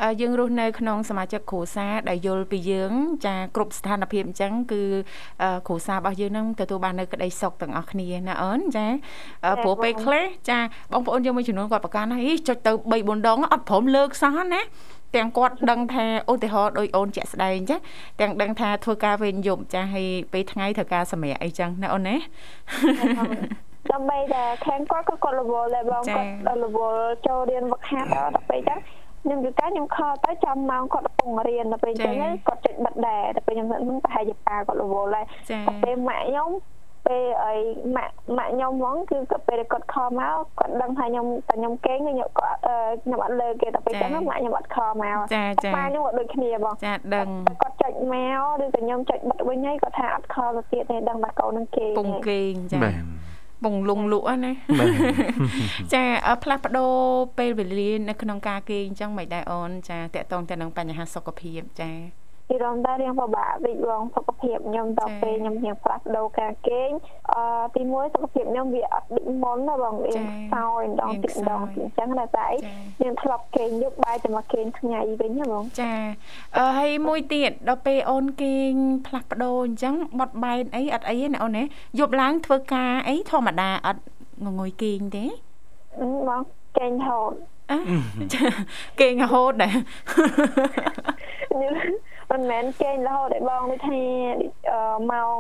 [SPEAKER 2] អឺយើងរស់នៅក្នុងសមាជិកគ្រួសារដែលយល់ពីយើង ចាគ្រប់ស្ថានភាពអញ្ចឹងគឺអឺគ្រួសាររបស់យើងនឹងទទួលបាននៅក្តីសុខទាំងអស់គ្នាណាអូនចាអឺព្រោះពេលខ្លះចាបងប្អូនយើងមួយចំនួនគាត់ប្រកាសថាអីចុចទៅ3 4ដងអត់ព្រមលើកសោះណាទាំងគាត់ដឹងថាឧទាហរណ៍ដោយអូនជាក់ស្ដែងចាទាំងដឹងថាធ្វើការវេនយប់ចាហើយពេលថ្ងៃធ្វើការសម្រាកអីចឹងណាអូន ណា
[SPEAKER 5] ដល់ពេលតែខាងគាត់ក៏គាត់រវល់ដែរបង
[SPEAKER 2] ចា៎
[SPEAKER 5] គាត់រវល់ចូលរៀនវឹកហាត់ដល់ពេលចឹងខ្ញុំយល់តែខ្ញុំខលទៅចាំម៉ោងគាត់កំពុងរៀនដល់ពេលចឹងហ្នឹងគាត់ចុចបិទដែរដល់ពេលខ្ញុំថាហ្នឹងប្រហែលជាប៉ាគាត់រវល់ដែរ
[SPEAKER 2] ចា
[SPEAKER 5] ពេលម៉ាក់ខ្ញុំពេលអីម៉ាក់ម៉ាក់ខ្ញុំហ្មងគឺគាត់ពេលគាត់ខលមកគាត់ដឹងថាខ្ញុំតែខ្ញុំគេងខ្ញុំគាត់អឺខ្ញុំអត់លើគេតែពេលចឹងណាម៉ាក់ខ្ញុំអត់ខលមក
[SPEAKER 2] ចាចា
[SPEAKER 5] ម៉ាក់ខ្ញុំក៏ដូចគ្នាបង
[SPEAKER 2] ចាដឹង
[SPEAKER 5] តែគាត់ចុចមកឬក៏ខ្ញុំចុចបិទវិញហើយគាត់ថាអត់ខលទៅទៀតទេដឹងថាកូននឹងគេង
[SPEAKER 2] ពង
[SPEAKER 5] ទេ
[SPEAKER 2] គេងចា
[SPEAKER 3] បាទ
[SPEAKER 2] ពងលងលក់ហ្នឹងណា
[SPEAKER 3] បាទ
[SPEAKER 2] ចាអ่าផ្លាស់ប្ដូរពេលវេលានៅក្នុងការគេងអញ្ចឹងមិនដែរអូនចាតកតងទៅនឹងបញ្ហាសុខភាពចា
[SPEAKER 5] ពីរំដៅរៀងពិបាកវិជ្ជងសុខភាពខ្ញុំដល់
[SPEAKER 2] ចា៎
[SPEAKER 5] ពេលខ្ញុំរៀងផ្លាស់ប្ដូរការគេងអឺទីមួយសុខភាពខ្ញុំវាអត់ដូចមុនណាបងវាខ្សោយម្ដងទីម្ដងទីអញ្ចឹងតែតែ
[SPEAKER 2] ចា
[SPEAKER 5] ខ្ញុំធ្លាប់គេងយប់បែរតែមកគេងថ្ងៃវិញណាបង
[SPEAKER 2] ចាអឺហើយមួយទៀតដល់ពេលអូនគេងផ្លាស់ប្ដូរអញ្ចឹងបត់បែនអីអត់អីទេណាអូនណាយប់ឡើងធ្វើការអីធម្មតាអត់ងងុយគេងទេ
[SPEAKER 5] អឺបងចេញ ហូត
[SPEAKER 2] អ่ะចាគេងរហូតដែរ
[SPEAKER 5] ខ្ញុំមិនមែនចេញរហូតទេបងដូចថាអឺម៉ោង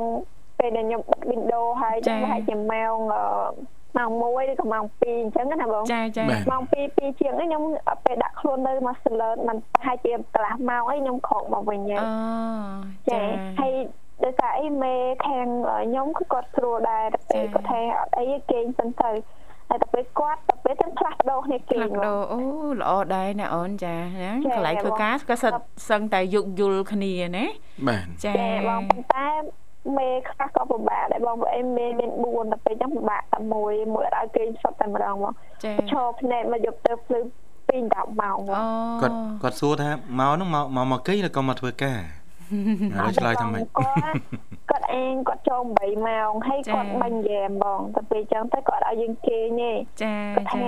[SPEAKER 5] ពេលដែលខ្ញុំបិទ window ហើយ
[SPEAKER 2] ចា៎
[SPEAKER 5] ប្រហែលជាម៉ោងអឺម៉ោង1ឬក៏ម៉ោង2អញ្ចឹងណាបង
[SPEAKER 2] ចាចា
[SPEAKER 3] បាទ
[SPEAKER 5] ម៉ោង2 2ជាងហ្នឹងខ្ញុំពេលដាក់ខ្លួននៅមក alert มันប្រហែលជាកន្លះម៉ោងអីខ្ញុំខកមកវិញហើយ
[SPEAKER 2] អូ
[SPEAKER 5] ចា
[SPEAKER 2] ចា
[SPEAKER 5] ហើយដោយសារអីមេខាងខ្ញុំគឺគាត់ស្រួលដែរតែពេល
[SPEAKER 2] ចា៎
[SPEAKER 5] គាត់ថាអត់អីទេគេងសិនទៅហើយតែពេលគាត់តែពេលទាំងផ្លាស់ប្ដូរគ្នាគេ
[SPEAKER 2] ផ្លា
[SPEAKER 5] ង
[SPEAKER 2] ស់
[SPEAKER 5] ហ្ម
[SPEAKER 2] ប្ដូ
[SPEAKER 5] ង
[SPEAKER 2] រអូល្អដែរណាអូនចាណា
[SPEAKER 5] ចា៎
[SPEAKER 2] កន្លែងធ្វើការក៏សិតសឹងតែយោគយល់គ្នាណា
[SPEAKER 3] បាទ
[SPEAKER 2] ចា
[SPEAKER 5] ចាបងប៉ុន្តែមេខ្លះក៏ពិបាកដែរបងព្រោះអីមេមាន4ដល់ពេលចឹងពិបាកតែមួយមួយអត់ឲ្យគេងសុទ្ធតែម្ដងមក
[SPEAKER 2] ចា
[SPEAKER 5] ឈរភ្នែកមកយកទៅភ្លឺ2 10ម៉ោងមក
[SPEAKER 2] អូ
[SPEAKER 3] គាត់គាត់សួរថាមកហ្នឹងមកមកមកគេងឬក៏មកធ្វើការឥឡូវឆ្លើយថាម៉េច
[SPEAKER 5] គាត់គាត់ឯងគាត់ចូល8ម៉ោងហើយគាត់បាញ់ហ្គេមបងដល់ពេលចឹងទៅគាត់ឲ្យយើងគេងទេ
[SPEAKER 2] ចា
[SPEAKER 5] គាត់
[SPEAKER 2] ចា
[SPEAKER 5] ថា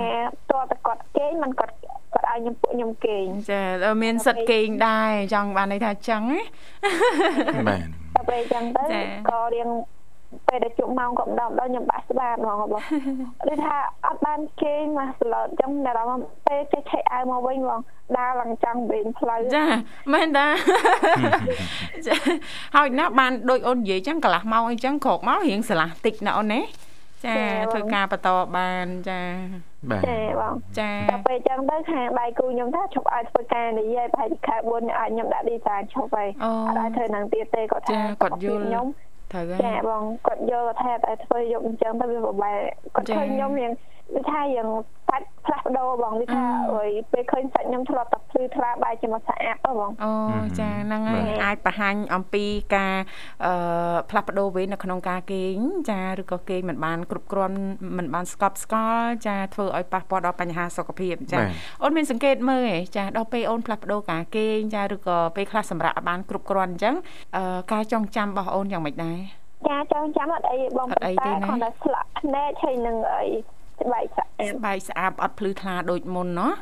[SPEAKER 5] តើតើគាត់គេងມັນគាត់គាត់ឲ្យខ្ញុំពួកខ្ញុំគេង
[SPEAKER 2] ចាដល់មានសិតគេងដែរចង់បានន័យថាចឹងណា
[SPEAKER 3] បាទ
[SPEAKER 5] ដល់ពេលចឹងទៅ
[SPEAKER 2] ចា
[SPEAKER 5] ក៏រៀងពេលដែលជប់ម៉ោងក៏ម្ដងដល់ខ្ញុំបាក់ស្បាតហ្មងបង ដូចថាអត់បានគេងមកស្លុតចឹងតែដល់មកពេលចេះឆែកអាវមកវិញបងដើរឡើងចង់វិញផ្លូវ
[SPEAKER 2] ចាមែន តាចាហើយណាស់បានដូចអូននិយាយចឹងកន្លះម៉ោងអីចឹងក្រោកមករៀងស្រឡះតិចណាអូនណាចាធ្វើការបន្តបានចា
[SPEAKER 3] បាទ
[SPEAKER 5] ចាបង
[SPEAKER 2] ចា
[SPEAKER 5] ដល់ពេលចឹងទៅខាងដៃគូខ្ញុំថាឈប់ឲ្យធ្វើការនិយាយប្រហែលជាខែ4អាចខ្ញុំដាក់ឌីសាឈប់ហើយ
[SPEAKER 2] អូ
[SPEAKER 5] អត់ឲ្យធ្វើនឹងទៀតទេគាត់ថា
[SPEAKER 2] ចាគាត់យល់
[SPEAKER 5] សុខភាពខ្ញុំ
[SPEAKER 2] ត្រូវហើ
[SPEAKER 5] ចា
[SPEAKER 2] យ
[SPEAKER 5] បងគាត់យល់គាត់ថាតែធ្វើយប់អញ្ចឹងទៅវាពិបាកគាត់
[SPEAKER 2] ចា
[SPEAKER 5] ឃើញខ្ញុំរៀងដូចថារៀងសាច់ផ្លាស់ប្ដូរបងដូចថា
[SPEAKER 2] អឺ
[SPEAKER 5] អើយពេលឃើញសាច់ខ្ញុំធ្លាប់តែភ្លឺថ្លាបែរជាមកស្អាតហ៎បង
[SPEAKER 2] អូចាហ្នឹងហើយអាចបង្ហាញអំពីការអឺផ្លាស់ប្ដូរវេននៅក្នុងការគេងចាឬក៏គេងមិនបានគ្រប់គ្រាន់មិនបានស្កប់ស្កល់ចាធ្វើឲ្យប៉ះពាល់ដល់បញ្ហាសុខភាពចា
[SPEAKER 3] បាទ
[SPEAKER 2] អូនមានសង្កេតមើលឯងចាដល់ពេលអូនផ្លាស់ប្ដូរការគេងចាឬក៏ពេលខ្លះសម្រាប់បានគ្រប់គ្រាន់អញ្ចឹងអឺការចងចាំរបស់អូនយ៉ាងម៉េចដែរ
[SPEAKER 5] ចាចង់ចាំអត់អីទេបង
[SPEAKER 2] អត់អីទេណា
[SPEAKER 5] គ្រាន់តែស្លាក់ភ្នែកហើយនឹងអីស្បែកស្អាត
[SPEAKER 2] ស្បែកស្អាតអត់ភ្លឺថ្លាដូចមុនណោះ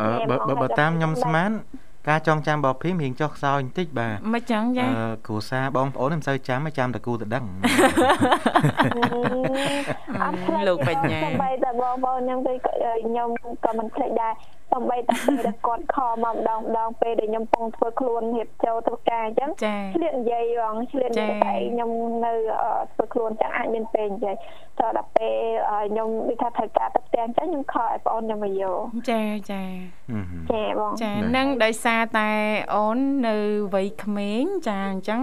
[SPEAKER 3] អឺបើបើបើតាមខ្ញុំស្មាន ការចងចាំរបស់ភីមរៀងចុះខ្សោយបន្តិចបាទ
[SPEAKER 2] មិនចឹង
[SPEAKER 3] អឺ
[SPEAKER 2] ចា
[SPEAKER 3] គ្រូសាបងប្អូនមិនសូវចាំទេចាំតែគូទៅ ដឹង
[SPEAKER 5] អត់ភ្លេច
[SPEAKER 2] លោកបញ្ញា
[SPEAKER 5] សំបីតែបងបងខ្ញុំទៅខ្ញុំក៏មិនភ្លេចដែរ សំបីតែពេលដែលគាត់ខលមកម្ដងម្ដងពេលដែលខ្ញុំកំពុងធ្វើខ្លួនរៀបចូលធ្វើការអញ្ចឹង
[SPEAKER 2] ចា
[SPEAKER 5] ឆ្លៀតនិយាយបងឆ្លៀតនិយាយ
[SPEAKER 2] ចា៎
[SPEAKER 5] តែឯងខ្ញុំនៅអឺធ្វើខ្លួនអញ្ចឹងអាចមានពេលនិយាយតោះដល់ពេលអឺខ្ញុំនិយាយថាត្រូវការទៅផ្ទះអញ្ចឹងខ្ញុំខលឲ្យបងអូនខ្ញុំមកយក
[SPEAKER 2] ចាចា
[SPEAKER 3] ហឹម
[SPEAKER 5] ចាបង
[SPEAKER 2] ចា
[SPEAKER 3] បាទ
[SPEAKER 2] នឹងដោយសារតែអូននៅវ័យក្មេងចាអញ្ចឹង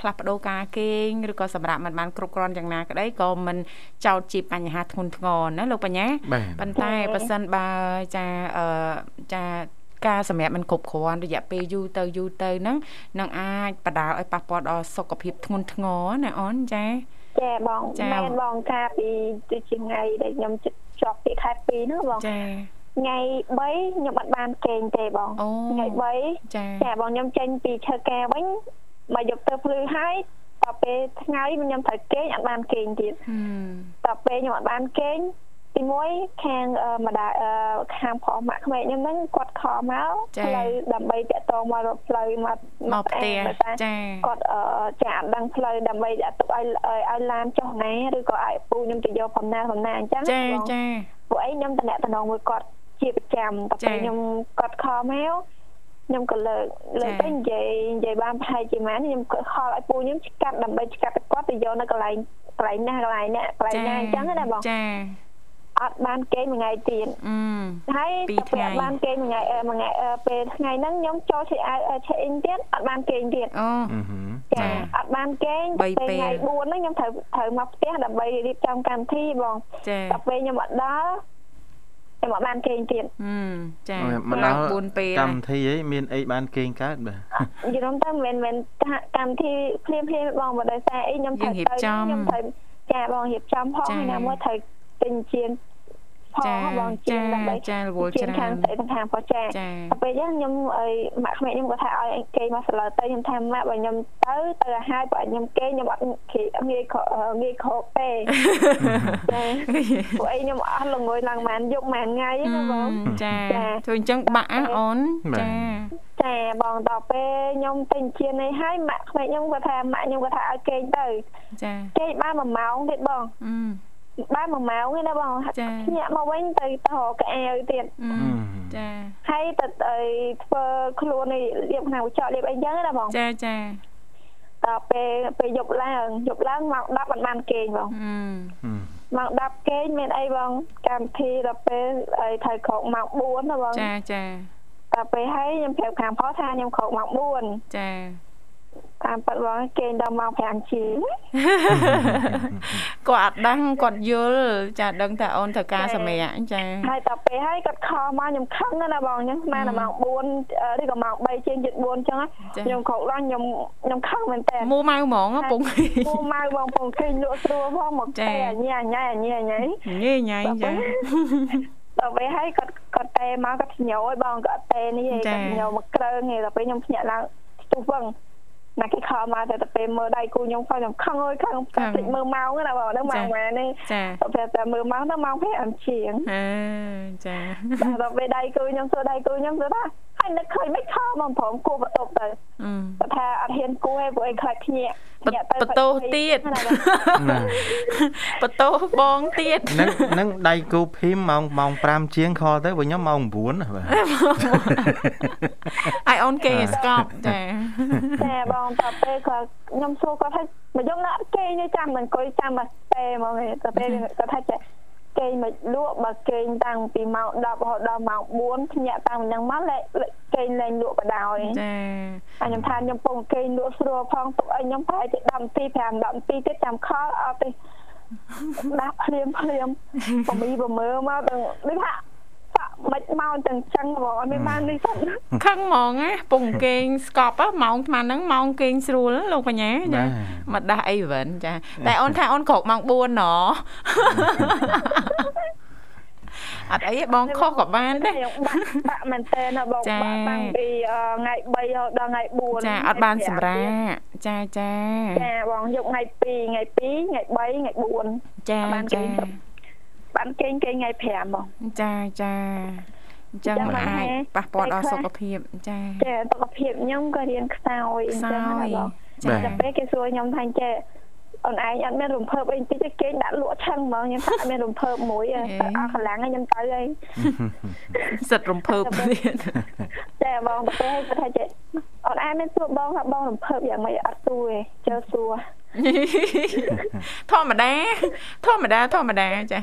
[SPEAKER 2] ផ្លាស់ប្ដូរការគេងឬក៏សម្រាប់មិនបានគ្រប់គ្រាន់យ៉ាងណាក្តីក៏មិនចោតជាបញ្ហាធ្ងន់ធ្ងរណាលោកបញ្ញា
[SPEAKER 3] បាទ
[SPEAKER 2] ប៉ុន្តែបើសិនបើចាអឺចាការសម្រាប់มันគ្រប់គ្រាន់រយៈពេលយូរទៅយូរទៅហ្នឹងនឹងអាចបដាលឲ្យប៉ះពាល់ដល់សុខភាពធ្ងន់ធ្ងរណាអូនចា
[SPEAKER 5] ចាបង
[SPEAKER 2] ចា
[SPEAKER 5] មែនបងថាពីទៅជាថ្ងៃដែលខ្ញុំជិតជាប់ពីខែ2ហ្នឹងបង
[SPEAKER 2] ចា
[SPEAKER 5] ថ្ងៃ3ខ្ញុំអត់បានគេងទេបង
[SPEAKER 2] អូ
[SPEAKER 5] ថ្ងៃ3
[SPEAKER 2] ចា
[SPEAKER 5] ចាបងខ្ញុំចេញពីឈើកែវិញមកយកទៅភ្លឺហើយតទៅថ្ងៃខ្ញុំត្រូវគេងអត់បានគេងទៀត
[SPEAKER 2] ហឹម
[SPEAKER 5] តទៅខ្ញុំអត់បានគេងទីមួយខាងអឺម្ដាយអឺខាងប្រុសម៉ាក់ក្មេកខ្ញុំហ្នឹងគាត់ខលមកផ្លូវដើម្បីតាក់ទងមករកផ្លូវមក
[SPEAKER 2] មកផ្ទះ
[SPEAKER 5] តែ
[SPEAKER 2] ចា
[SPEAKER 5] គាត់អឺចាអត់ដឹងផ្លូវដើម្បីដាក់ទុកឲ្យឲ្យឲ្យឡានចុះណាឬក៏ឲ្យឪពូខ្ញុំទៅយកបំណាបំណាអញ្ចឹង
[SPEAKER 2] ចា
[SPEAKER 5] បង
[SPEAKER 2] ចា
[SPEAKER 5] ពួកឯងខ្ញុំតំណាក់តំណងមួយគាត់ជាប្រចាំតែ
[SPEAKER 2] ចា៎
[SPEAKER 5] ពេលខ្ញុំគាត់ខលមកខ្ញុំក៏លើកលើក
[SPEAKER 2] ចា៎
[SPEAKER 5] ទៅនិយាយនិយាយបានប្រហែលជាម៉ានខ្ញុំក៏ខលឲ្យពូខ្ញុំឆ្កាត់ដើម្បីឆ្កាត់ឲ្យគាត់ទៅយកនៅកន្លែងកន្លែងណាកន្លែងណាកន្លែងណាអញ្ចឹងណាបង
[SPEAKER 2] ចា
[SPEAKER 5] អត់បានគេងមួយថ្ងៃទៀត
[SPEAKER 2] អឺ
[SPEAKER 5] ហើយ
[SPEAKER 2] ពីរ
[SPEAKER 5] ទៅពេល
[SPEAKER 2] ថ្ងៃ
[SPEAKER 5] អត់បានគេងមួយថ្ងៃអឺមួយថ្ងៃអឺពេលថ្ងៃហ្នឹងខ្ញុំចូលឆេអៅឆេអ៊ីនទៀតអត់បានគេងទៀត
[SPEAKER 2] អូ
[SPEAKER 3] ហឹម
[SPEAKER 5] ចាអត់បានគេង
[SPEAKER 2] បីពេល
[SPEAKER 5] ថ្ងៃ4ហ្នឹងខ្ញុំត្រូវត្រូវមកផ្ទះដើម្បីរៀបចំកម្មវិធីបង
[SPEAKER 2] ចា
[SPEAKER 5] ដល់ពេលខ្ញុំអត់ដល់ខ្ញុំអត់បានគេងទៀត
[SPEAKER 2] ហឹមចា
[SPEAKER 3] អូយមក
[SPEAKER 2] ឡើង
[SPEAKER 3] ដល់
[SPEAKER 2] 4ពេល
[SPEAKER 3] កម្មវិធីអីមានអីបានគេងកើតបាទ
[SPEAKER 5] យល់ទៅមិនមែនថាកម្មវិធីភ្លាមភ្លាមទេបងបើដោយសារអីខ្ញុំត្រូវទៅខ្ញុំត្រូវចាបងរៀបចំផងហើយណាមួយត្រូវទិញជាងផង
[SPEAKER 2] ចា
[SPEAKER 5] បងជា
[SPEAKER 2] ចា
[SPEAKER 5] ងដើម្បី
[SPEAKER 2] ចារវល់ច្
[SPEAKER 5] ជាងខា
[SPEAKER 2] រើ
[SPEAKER 5] ង
[SPEAKER 2] ន
[SPEAKER 5] ស្អីទាំងខាងផងចាតែ
[SPEAKER 2] ចា
[SPEAKER 5] ពេលហ្នឹងខ្ញុំអីម៉ាក់ក្មេកខ្ញុំគាត់ថាឲ្យឯងគេងមកសាលើទៅខ្ញុំថាម៉ាក់បើខ្ញុំទៅទៅឲ្យហើយបើខ្ញុំគេងខ្ញុំអត់គេងាយងាយខកទេ ចាពួកឯងខ្ញុំអស់លងុយឡើងម៉ានយកម៉ានថ្ងៃណាបង
[SPEAKER 2] ចា
[SPEAKER 5] ចា
[SPEAKER 2] ធ្វើអញ្ចឹងបាក់អ่ะអូន
[SPEAKER 3] បាទ
[SPEAKER 2] ចា
[SPEAKER 5] ចាបងតពេលខ្ញុំទិញជានេះហើយម៉ាក់ក្មេកខ្ញុំគាត់ថាម៉ាក់ខ្ញុំគាត់ថាឲ្យគេងទៅ
[SPEAKER 2] ចា
[SPEAKER 5] គេងបាន1ម៉ោងទៀតបង
[SPEAKER 2] អឺ
[SPEAKER 5] បាន1ម៉ោងទេណាបង
[SPEAKER 2] ចា
[SPEAKER 5] ញាក់មកវិញទៅទៅរកកៅអែវទៀត
[SPEAKER 2] អឺ
[SPEAKER 3] ហឹម
[SPEAKER 2] ចា
[SPEAKER 5] ហើយទៅអីធ្វើខ្លួននេះលៀបខ្នៅចោលលៀបអីចឹងណាបង
[SPEAKER 2] ចាចា
[SPEAKER 5] តពេលពេលយប់ឡើងយប់ឡើងម៉ោង10មិនបានគេងប
[SPEAKER 2] អឺ
[SPEAKER 3] ហឹ
[SPEAKER 5] ង
[SPEAKER 3] ម
[SPEAKER 5] ម៉ោង10គេងមានអីបងកម្មវិធីដល់ពេលអីថៃក្រោកម៉ោង4ណាបង
[SPEAKER 2] ចាចា
[SPEAKER 5] តពេលហើយខ្ញុំប្រាប់ខាងផោះថាខ្ញុំក្រោកម៉ោង
[SPEAKER 2] ចា
[SPEAKER 5] 4តាមប៉ាត់បងគេងដល់ម៉ោង5ជាង
[SPEAKER 2] គាត់អត់ដឹងគាត់យល់ចាដឹងតែអូនត្រូវការ
[SPEAKER 5] ចា
[SPEAKER 2] សម្រាប់ចា
[SPEAKER 5] ហើយតពេលហើយគាត់ខលមកខ្ញុំខឹងណាស់ណាបងខ្ញុំស្មានតែម៉ោង4ឬក៏ម៉ោង3ជាងជិត4អញ្ចឹង
[SPEAKER 2] ចា
[SPEAKER 5] ខ្ញុំក្រោកឡើងខ្ញុំខ្ញុំខឹងមែនតើ
[SPEAKER 2] មួម៉ៅហ្មងហ៎ពង
[SPEAKER 5] ពូម៉ៅបងពងឃើញលក់ស្រួលផងមក
[SPEAKER 2] ចា
[SPEAKER 5] តែអញ៉ៃអញ៉ៃអញ៉ៃអញ៉ៃ
[SPEAKER 2] ញ៉ៃញ៉ៃចា
[SPEAKER 5] តពេលហើយគាត់គាត់តែមកគាត់ញោឲ្យបងគាត់តែនេះឯង
[SPEAKER 2] ចា
[SPEAKER 5] គាត់ញោមកក្រើងឯងតពេលខ្ញុំភ្ញាក់ឡើងស្ទុះវឹងណាគេខលមកតែតពេលមើលដៃគូខ្ញុំផងខ្ញុំខឹងអើយខឹងគាត់ភ្លេចមើលម៉ោងណាបងហ្នឹងម៉ោងម៉ែនេះ
[SPEAKER 2] ចា
[SPEAKER 5] តពេលតែមើលម៉ោងទៅម៉ោង5ជាង
[SPEAKER 2] អឺចា
[SPEAKER 5] ដល់ពេលដៃគូខ្ញុំសួរដៃគូខ្ញុំសួរថាហើយនឹកឃើញមិនខោមកព្រមគូបន្ទប់ទៅ
[SPEAKER 2] អឺ
[SPEAKER 5] គាត់ថាអត់ហ៊ានគូទេព្រោះឯងខ្លាចភ្ញាក់
[SPEAKER 2] ប
[SPEAKER 5] ញាក់
[SPEAKER 2] បន្ទោសទៀត
[SPEAKER 5] ណាបង
[SPEAKER 3] ណា
[SPEAKER 2] បន្ទោសបងទៀត
[SPEAKER 3] ហ្នឹងហ្នឹងដៃគូភីមម៉ោងម៉ោង5ជាងខលទៅ វិញខ្ញុំម៉ោង9ណាបាទ
[SPEAKER 2] អាយអូនគេងឲ្យស្កប់ចា
[SPEAKER 5] តែបងតពេលគាត់ខ្ញុំសួរគាត់ថាមកយកណាត់គេងទេចាំមិនអង្គុយចាំមកទេហ្មងទេពេលគាត់ថាចេះគេងមកលក់បើគេងតាំងពីម៉ោង10រហូតដល់ម៉ោង4ភ្ញាក់តាំងពីហ្នឹងមកលេលេគេងលេងលក់បដ ாய்
[SPEAKER 2] ចា
[SPEAKER 5] ហើយខ្ញុំថាខ្ញុំពងគេងលក់ស្រួលផងទុកឲ្យខ្ញុំប្រហែលជា10នាទី5 10នាទីទៀតចាំខលអត់ទេដាស់ភ្លាមភ្លាមបំមីបំមើមកទាំងដូចថាបាក់មិនមកទាំងចឹងហ្មងអត់មានបាននេះសោះ
[SPEAKER 2] ខឹងហ្មងណាពងគេងស្កប់ហ៎ម៉ោងស្មានហ្នឹងម៉ោងគេងស្រួលលោកបញ្ញា
[SPEAKER 3] បា
[SPEAKER 2] ចា
[SPEAKER 3] ទ
[SPEAKER 2] មកដាស់អីវិញចា តែអូនថាអូនក្រោកម៉ោង4ណអត់អីទេបងខុសក៏បានដែរ
[SPEAKER 5] ខ្ញុំបាក់បាក់មែនតើណាបង
[SPEAKER 2] ចា៎
[SPEAKER 5] បាក់តាំងពីអឺថ្ងៃ3រហូតដល់ថ្ងៃ4
[SPEAKER 2] ចាអត់បានសម្រាកចាចា
[SPEAKER 5] ចាបងយកថ្ងៃ2ថ្ងៃ2ថ្ងៃ3ថ្ងៃ4
[SPEAKER 2] ចា
[SPEAKER 5] បានគេ
[SPEAKER 2] ចា
[SPEAKER 5] ងទៅ បានគេងគេងថ្ងៃ5បង
[SPEAKER 2] ចាចាអញ្ចឹង
[SPEAKER 5] ចាំ
[SPEAKER 2] មិន
[SPEAKER 5] បាន
[SPEAKER 2] អាច
[SPEAKER 5] ទេ
[SPEAKER 2] ប៉ះពាល់ដល់
[SPEAKER 5] តែខ្លះ
[SPEAKER 2] សុខភាពចា
[SPEAKER 5] ចាសុខភាពខ្ញុំក៏រៀនខ្សោយអញ្ចឹ
[SPEAKER 2] ខ្សោ
[SPEAKER 5] ងណាបង
[SPEAKER 2] យ
[SPEAKER 5] តែពេលគេសួរខ្ញុំថាចេះ អូនឯងអត់មានរំភើបអីតិចទេគេងដាក់លក់ឆឹងហ្មងខ្ញុំថាអត់មានរំភើបមួយទេតែអស់កម្លាំងហើយខ្ញុំទៅហើយ
[SPEAKER 2] សិតរំភើបទៀត
[SPEAKER 5] តែបងប្រទេសគាត់ថាចេះអូនឯងមានសួរបងថាបងរំភើបយ៉ាងម៉េចអត់សួរទេចើសួរ
[SPEAKER 2] ធម្មតាធម្មតាធម្មតាចា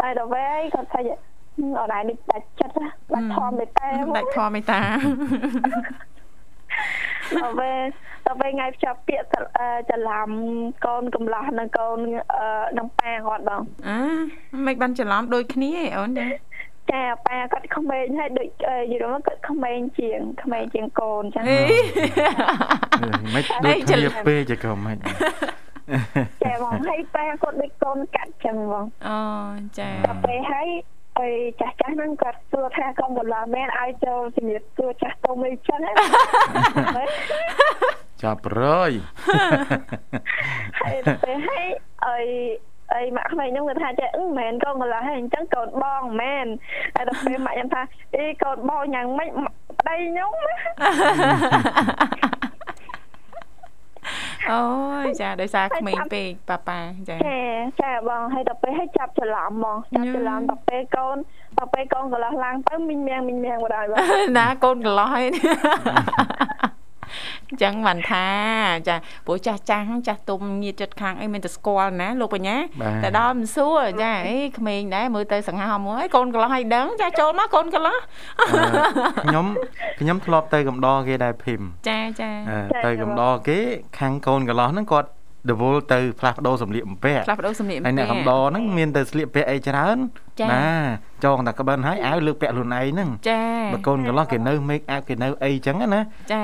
[SPEAKER 5] ហើយដល់វិញគាត់ថាចេះអូនឯងនេះដាច់ចិត្តបាត់ធំទៅតែ
[SPEAKER 2] មិនដាច់ធម៌មេត្តា
[SPEAKER 5] ដល់ពេលដល់ពេលថ្ងៃភ្ជាប់ពាក្យច្រឡំកូនកំឡោះនឹងកូននឹងប៉ាគាត់បង
[SPEAKER 2] អឺមិនបានច្រឡំដូចគ្នាឯអូនចា
[SPEAKER 5] ចាប៉ាគាត់ក្មេងហើយដូចយល់មកគាត់ក្មេងជាងក្មេងជាងកូនចឹង
[SPEAKER 3] មិនដូចគ្នាពេកក៏មិន
[SPEAKER 5] ចាបងហើយប៉ាគាត់ដូចកូនកាត់ចឹងបង
[SPEAKER 2] អូចា
[SPEAKER 5] ដល់ពេលហើយអីចាស់ចាស់ហ្នឹងគាត់សួរថាកុំបន្លំមែនឲ្យចូលជំនាញសួរចាស់ទុំអីចឹង ហ្នឹង
[SPEAKER 3] ចាប់រើយ
[SPEAKER 5] ហើយទៅឲ្យអីអីម៉ាក់ក្មេងខ្ញុំគាត់ថាចេះអឺមែនកូនកន្លះហើយអញ្ចឹងកូនបងមែនហើយដល់ពេលម៉ាក់ខ្ញុំថាអីកូនបងយ៉ាងម៉េចប្តីខ្ញុំ
[SPEAKER 2] អូយចាដោយសារក្មេងពេកប៉ាប៉ាចា
[SPEAKER 5] ចាចាបងហើយដល់ពេលឲ្យចាប់ច្រឡំហ្មងចាប់ច្រឡំដល់ពេលកូនដល់ពេលកូនកន្លះឡើងទៅមីងមៀងមីងមៀងបណ្ដោយបង
[SPEAKER 2] ណាកូនកន្លះហើយចឹងបានថាចាព្រោះចាស់ចាស់ចាស់ទុំញាតិចិត្តខាងអីមានតែស្គាល់ណាលោកបញ្ញាតែដល់មិនសួរចាអីក្មេងដែរមើលទៅសង្ហោមហើយកូនកន្លោះឲ្យដឹងចាចូលមកកូនកន្លោះ
[SPEAKER 3] ខ្ញុំខ្ញុំធ្លាប់ទៅកំដរគេដែរភីម
[SPEAKER 2] ចាចា
[SPEAKER 3] ទៅកំដរគេខាងកូនកន្លោះហ្នឹងគាត់ដវល់ទៅផ្លាស់ប្ដូរសម្លៀកបំពាក់
[SPEAKER 2] ផ្លាស់ប្ដូរសម្លៀកបំពាក់
[SPEAKER 3] ហើយអ្នកកំដរហ្នឹងមានតែស្លៀកពាក់អីច្រើនណាចងតែក្បិនហើយអាវលើកពាក់ខ្លួនឯងហ្នឹង
[SPEAKER 2] ចា
[SPEAKER 3] បើកូនកន្លោះគេនៅ make up គេនៅអីចឹងណា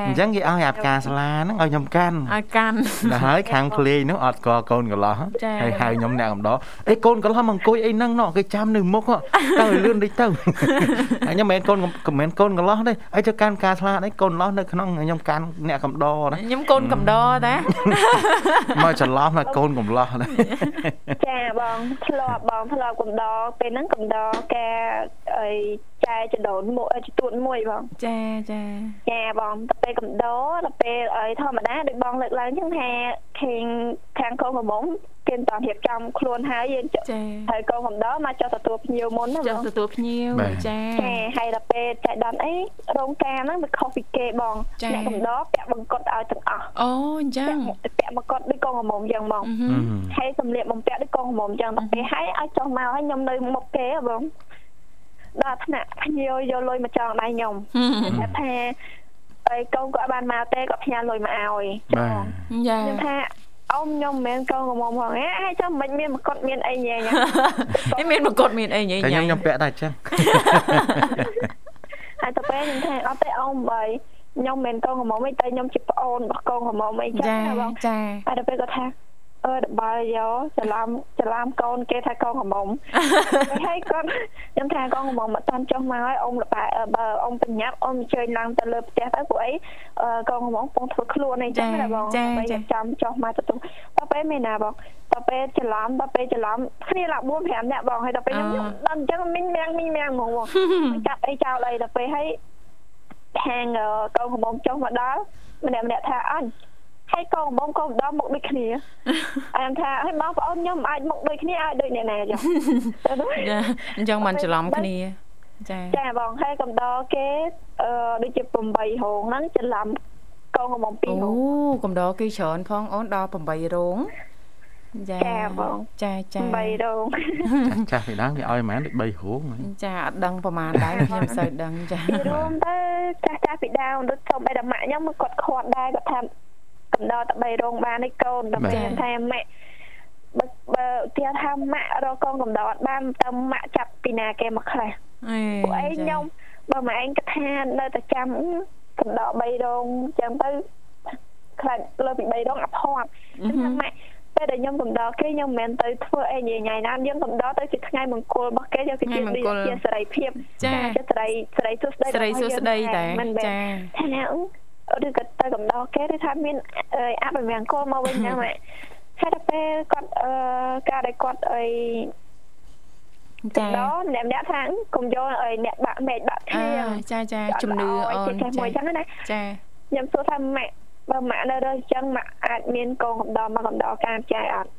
[SPEAKER 3] អញ្ចឹងគេឲ្យអាផ្កាស្លាហ្នឹងឲ្យខ្ញុំកាន់
[SPEAKER 2] ឲ្យកាន់
[SPEAKER 3] ដល់ ហើយខាងភ្លេងហ្នឹងអត់ស្គាល់កូនកន្លោះហើយហៅខ្ញុំអ្នកកំដរអេកូនកន្លោះមកអង្គុយអីហ្នឹងណោះគេចាំនៅមុខទៅលឿនតិចទៅហើយខ្ញុំមិនមែនកូនមិនមែនកូនកន្លោះទេអីទៅកាន់ផ្កាស្លាអីកូនកន្លោះនៅក្នុងខ្ញុំកាន់អ្នកកំដរណា
[SPEAKER 2] ខ្ញុំកូនកំដរតា
[SPEAKER 3] មកច្រឡំថាកូនកំឡោះ ណា
[SPEAKER 5] ចាបងធ្លាប់បងធ្លាប់កំដរពេលហ្នឹងកំដរការអីចែចដូនមួយចទួតមួយបង
[SPEAKER 2] ចាចា
[SPEAKER 5] ចាបងទៅពេលកំដរទៅពេលអីធម្មតាដូចបងលើកឡើងចឹងថាខេងខាងកូនប្រមុំគេមិនតារៀបចំខ្លួនហើយយើងហើយកូនកំដរមកចុះទទួលភ្ញៀវមុនណា
[SPEAKER 2] ចុះទទួលភ្ញៀវចា
[SPEAKER 5] ចាហើយដល់ពេលចែដនអីរោងការហ្នឹងវាខុសពីគេបងអ្នកកំដរពាក់បង្កត់ឲ្យទាំងអស់
[SPEAKER 2] អូអញ្ចឹង
[SPEAKER 5] ពាក់បង្កត់ដូចកូនកំមុំអញ្ចឹងបងហើយសម្លៀកបំពាក់ដូចកូនកំមុំអញ្ចឹងដល់ពេលហើយឲ្យចុះមកឲ្យខ្ញុំនៅមុខគេហ៎បងដល់ថ្នាក់ភ្ញៀវយកលុយមកចងដៃខ្ញុំថាហើយកូនក៏បានមកទេក៏ផ្ញើលុយមកឲ្យ
[SPEAKER 3] បាទ
[SPEAKER 2] ចា
[SPEAKER 5] ខ្ញុំថាអ៊ំខ្ញុំមិនមែនកូនកំមុំផងហ៎ហើយចាំមិនមានមកុដមានអីញ៉ែញ៉
[SPEAKER 2] ាមានមកុដ មានអីញ៉ែញ៉ា
[SPEAKER 3] ខ្ញុំខ្ញុំពាក់តែអញ្ចឹង
[SPEAKER 5] ហើយទៅពេលខ្ញុំថាអត់ទេអ៊ំបើខ្ញុំមិនកូនកំមុំអីតែខ្ញុំជាប្អូនរបស់កូនកំមុំអីចឹង
[SPEAKER 2] បងចា
[SPEAKER 5] ហើយទៅពេលគាត់ថាអឺដបើយោច្រឡំច្រឡំកូនគេថាកូនកំមុំហើយគាត់ខ្ញុំថាកូនកំមុំមកតាន់ចុះមកហើយអ៊ំលបែបើអ៊ំបញ្ញាប់អ៊ំជើញឡើងទៅលើផ្ទះទៅពួកអីកូនកំមុំកំពុងធ្វើខ្លួនអីចឹងណាបងបើចាំចុះមកទទួលទៅពេលមេណាបងទៅពេលច្រឡំទៅពេលច្រឡំគ្នាឡា4 5នាក់បងហើយទៅពេលខ្ញុំខ្ញុំដឹងចឹងមិញមៀងមិញមៀងហ្មងចាប់អីចោលអីទៅពេលហើយខាងកូនកំមុំចុះមកដល់ម្នាក់ម្នាក់ថាអញហើយកូនបងកូនដល់មកដូចគ្នាអញថាហើយបងប្អូនខ្ញុំអាចមកដូចគ្នាឲ្យដូចអ្នកណា
[SPEAKER 2] ចា
[SPEAKER 5] ចឹង
[SPEAKER 2] អញ្ចឹងមិនច្រឡំគ្នាចា
[SPEAKER 5] ចាបងហើយកំដរគេអឺដូចជា8រោងហ្នឹងច្រឡំកូនកំបង2រោងអូ
[SPEAKER 2] កំដរគេច្រើនផងអូនដល់8រោង
[SPEAKER 5] ចាបង
[SPEAKER 2] ចាចា
[SPEAKER 5] 3រោង
[SPEAKER 3] ចាស់ពីដើមគេឲ្យប្រហែលដូច3រោង
[SPEAKER 2] ចាអត់ដឹងប្រហែល ដែរខ្ញុំមិនសូវដឹងចា
[SPEAKER 5] រួមទៅចាស់ចាស់ពីដើមដូចធំឯដល់ម៉ាក់ខ្ញុំគាត់ខាត់ដែរគាត់ថាកំដរតបីរោងបានឯកូនតបីថាម៉ាក់បើបើទីថាម៉ាក់រកកូនកំដរអត់បានទៅម៉ាក់ចាប់ពីណាគេមកខ្លះពួកឯងខ្ញុំបើម៉ែឯងគិតថានៅតែចាំកំដរបីរោងចឹងទៅខ្លាចលើពីបីរោងអភ័ព្វចឹងថាម៉ាក់ពេលដែលខ្ញុំកំដរគេខ្ញុំមិនទៅធ្វើអីញ៉ៃញ៉ៃណាយើងកំដរទៅជាថ្ងៃមង្គលរបស់គេយើងគឺជាជាសេរីភាព
[SPEAKER 2] ចា
[SPEAKER 5] សេរីសេរីសុស្ដី
[SPEAKER 2] សេរីសុស្ដីតែចា
[SPEAKER 5] ថាណាឬក៏ទៅកំដរគេថាមានអភិមង្គលមកវិញហ្នឹងហើយតែពេលគាត់អឺការដែលគាត់អី
[SPEAKER 2] ចា
[SPEAKER 5] ដល់អ្នកម្នាក់ថាកុំយកឲ្យអ្នកបាក់មេឃបាក់ធៀង
[SPEAKER 2] ចាចាជំនឿអូន
[SPEAKER 5] ចាមួយចឹងណា
[SPEAKER 2] ចា
[SPEAKER 5] ខ្ញុំសួរថាម៉ាក់ បើម៉ាក់នៅរើសអញ្ចឹងម៉ាក់អាចមានកងកម្ដរមកកម្ដរការចាយអត់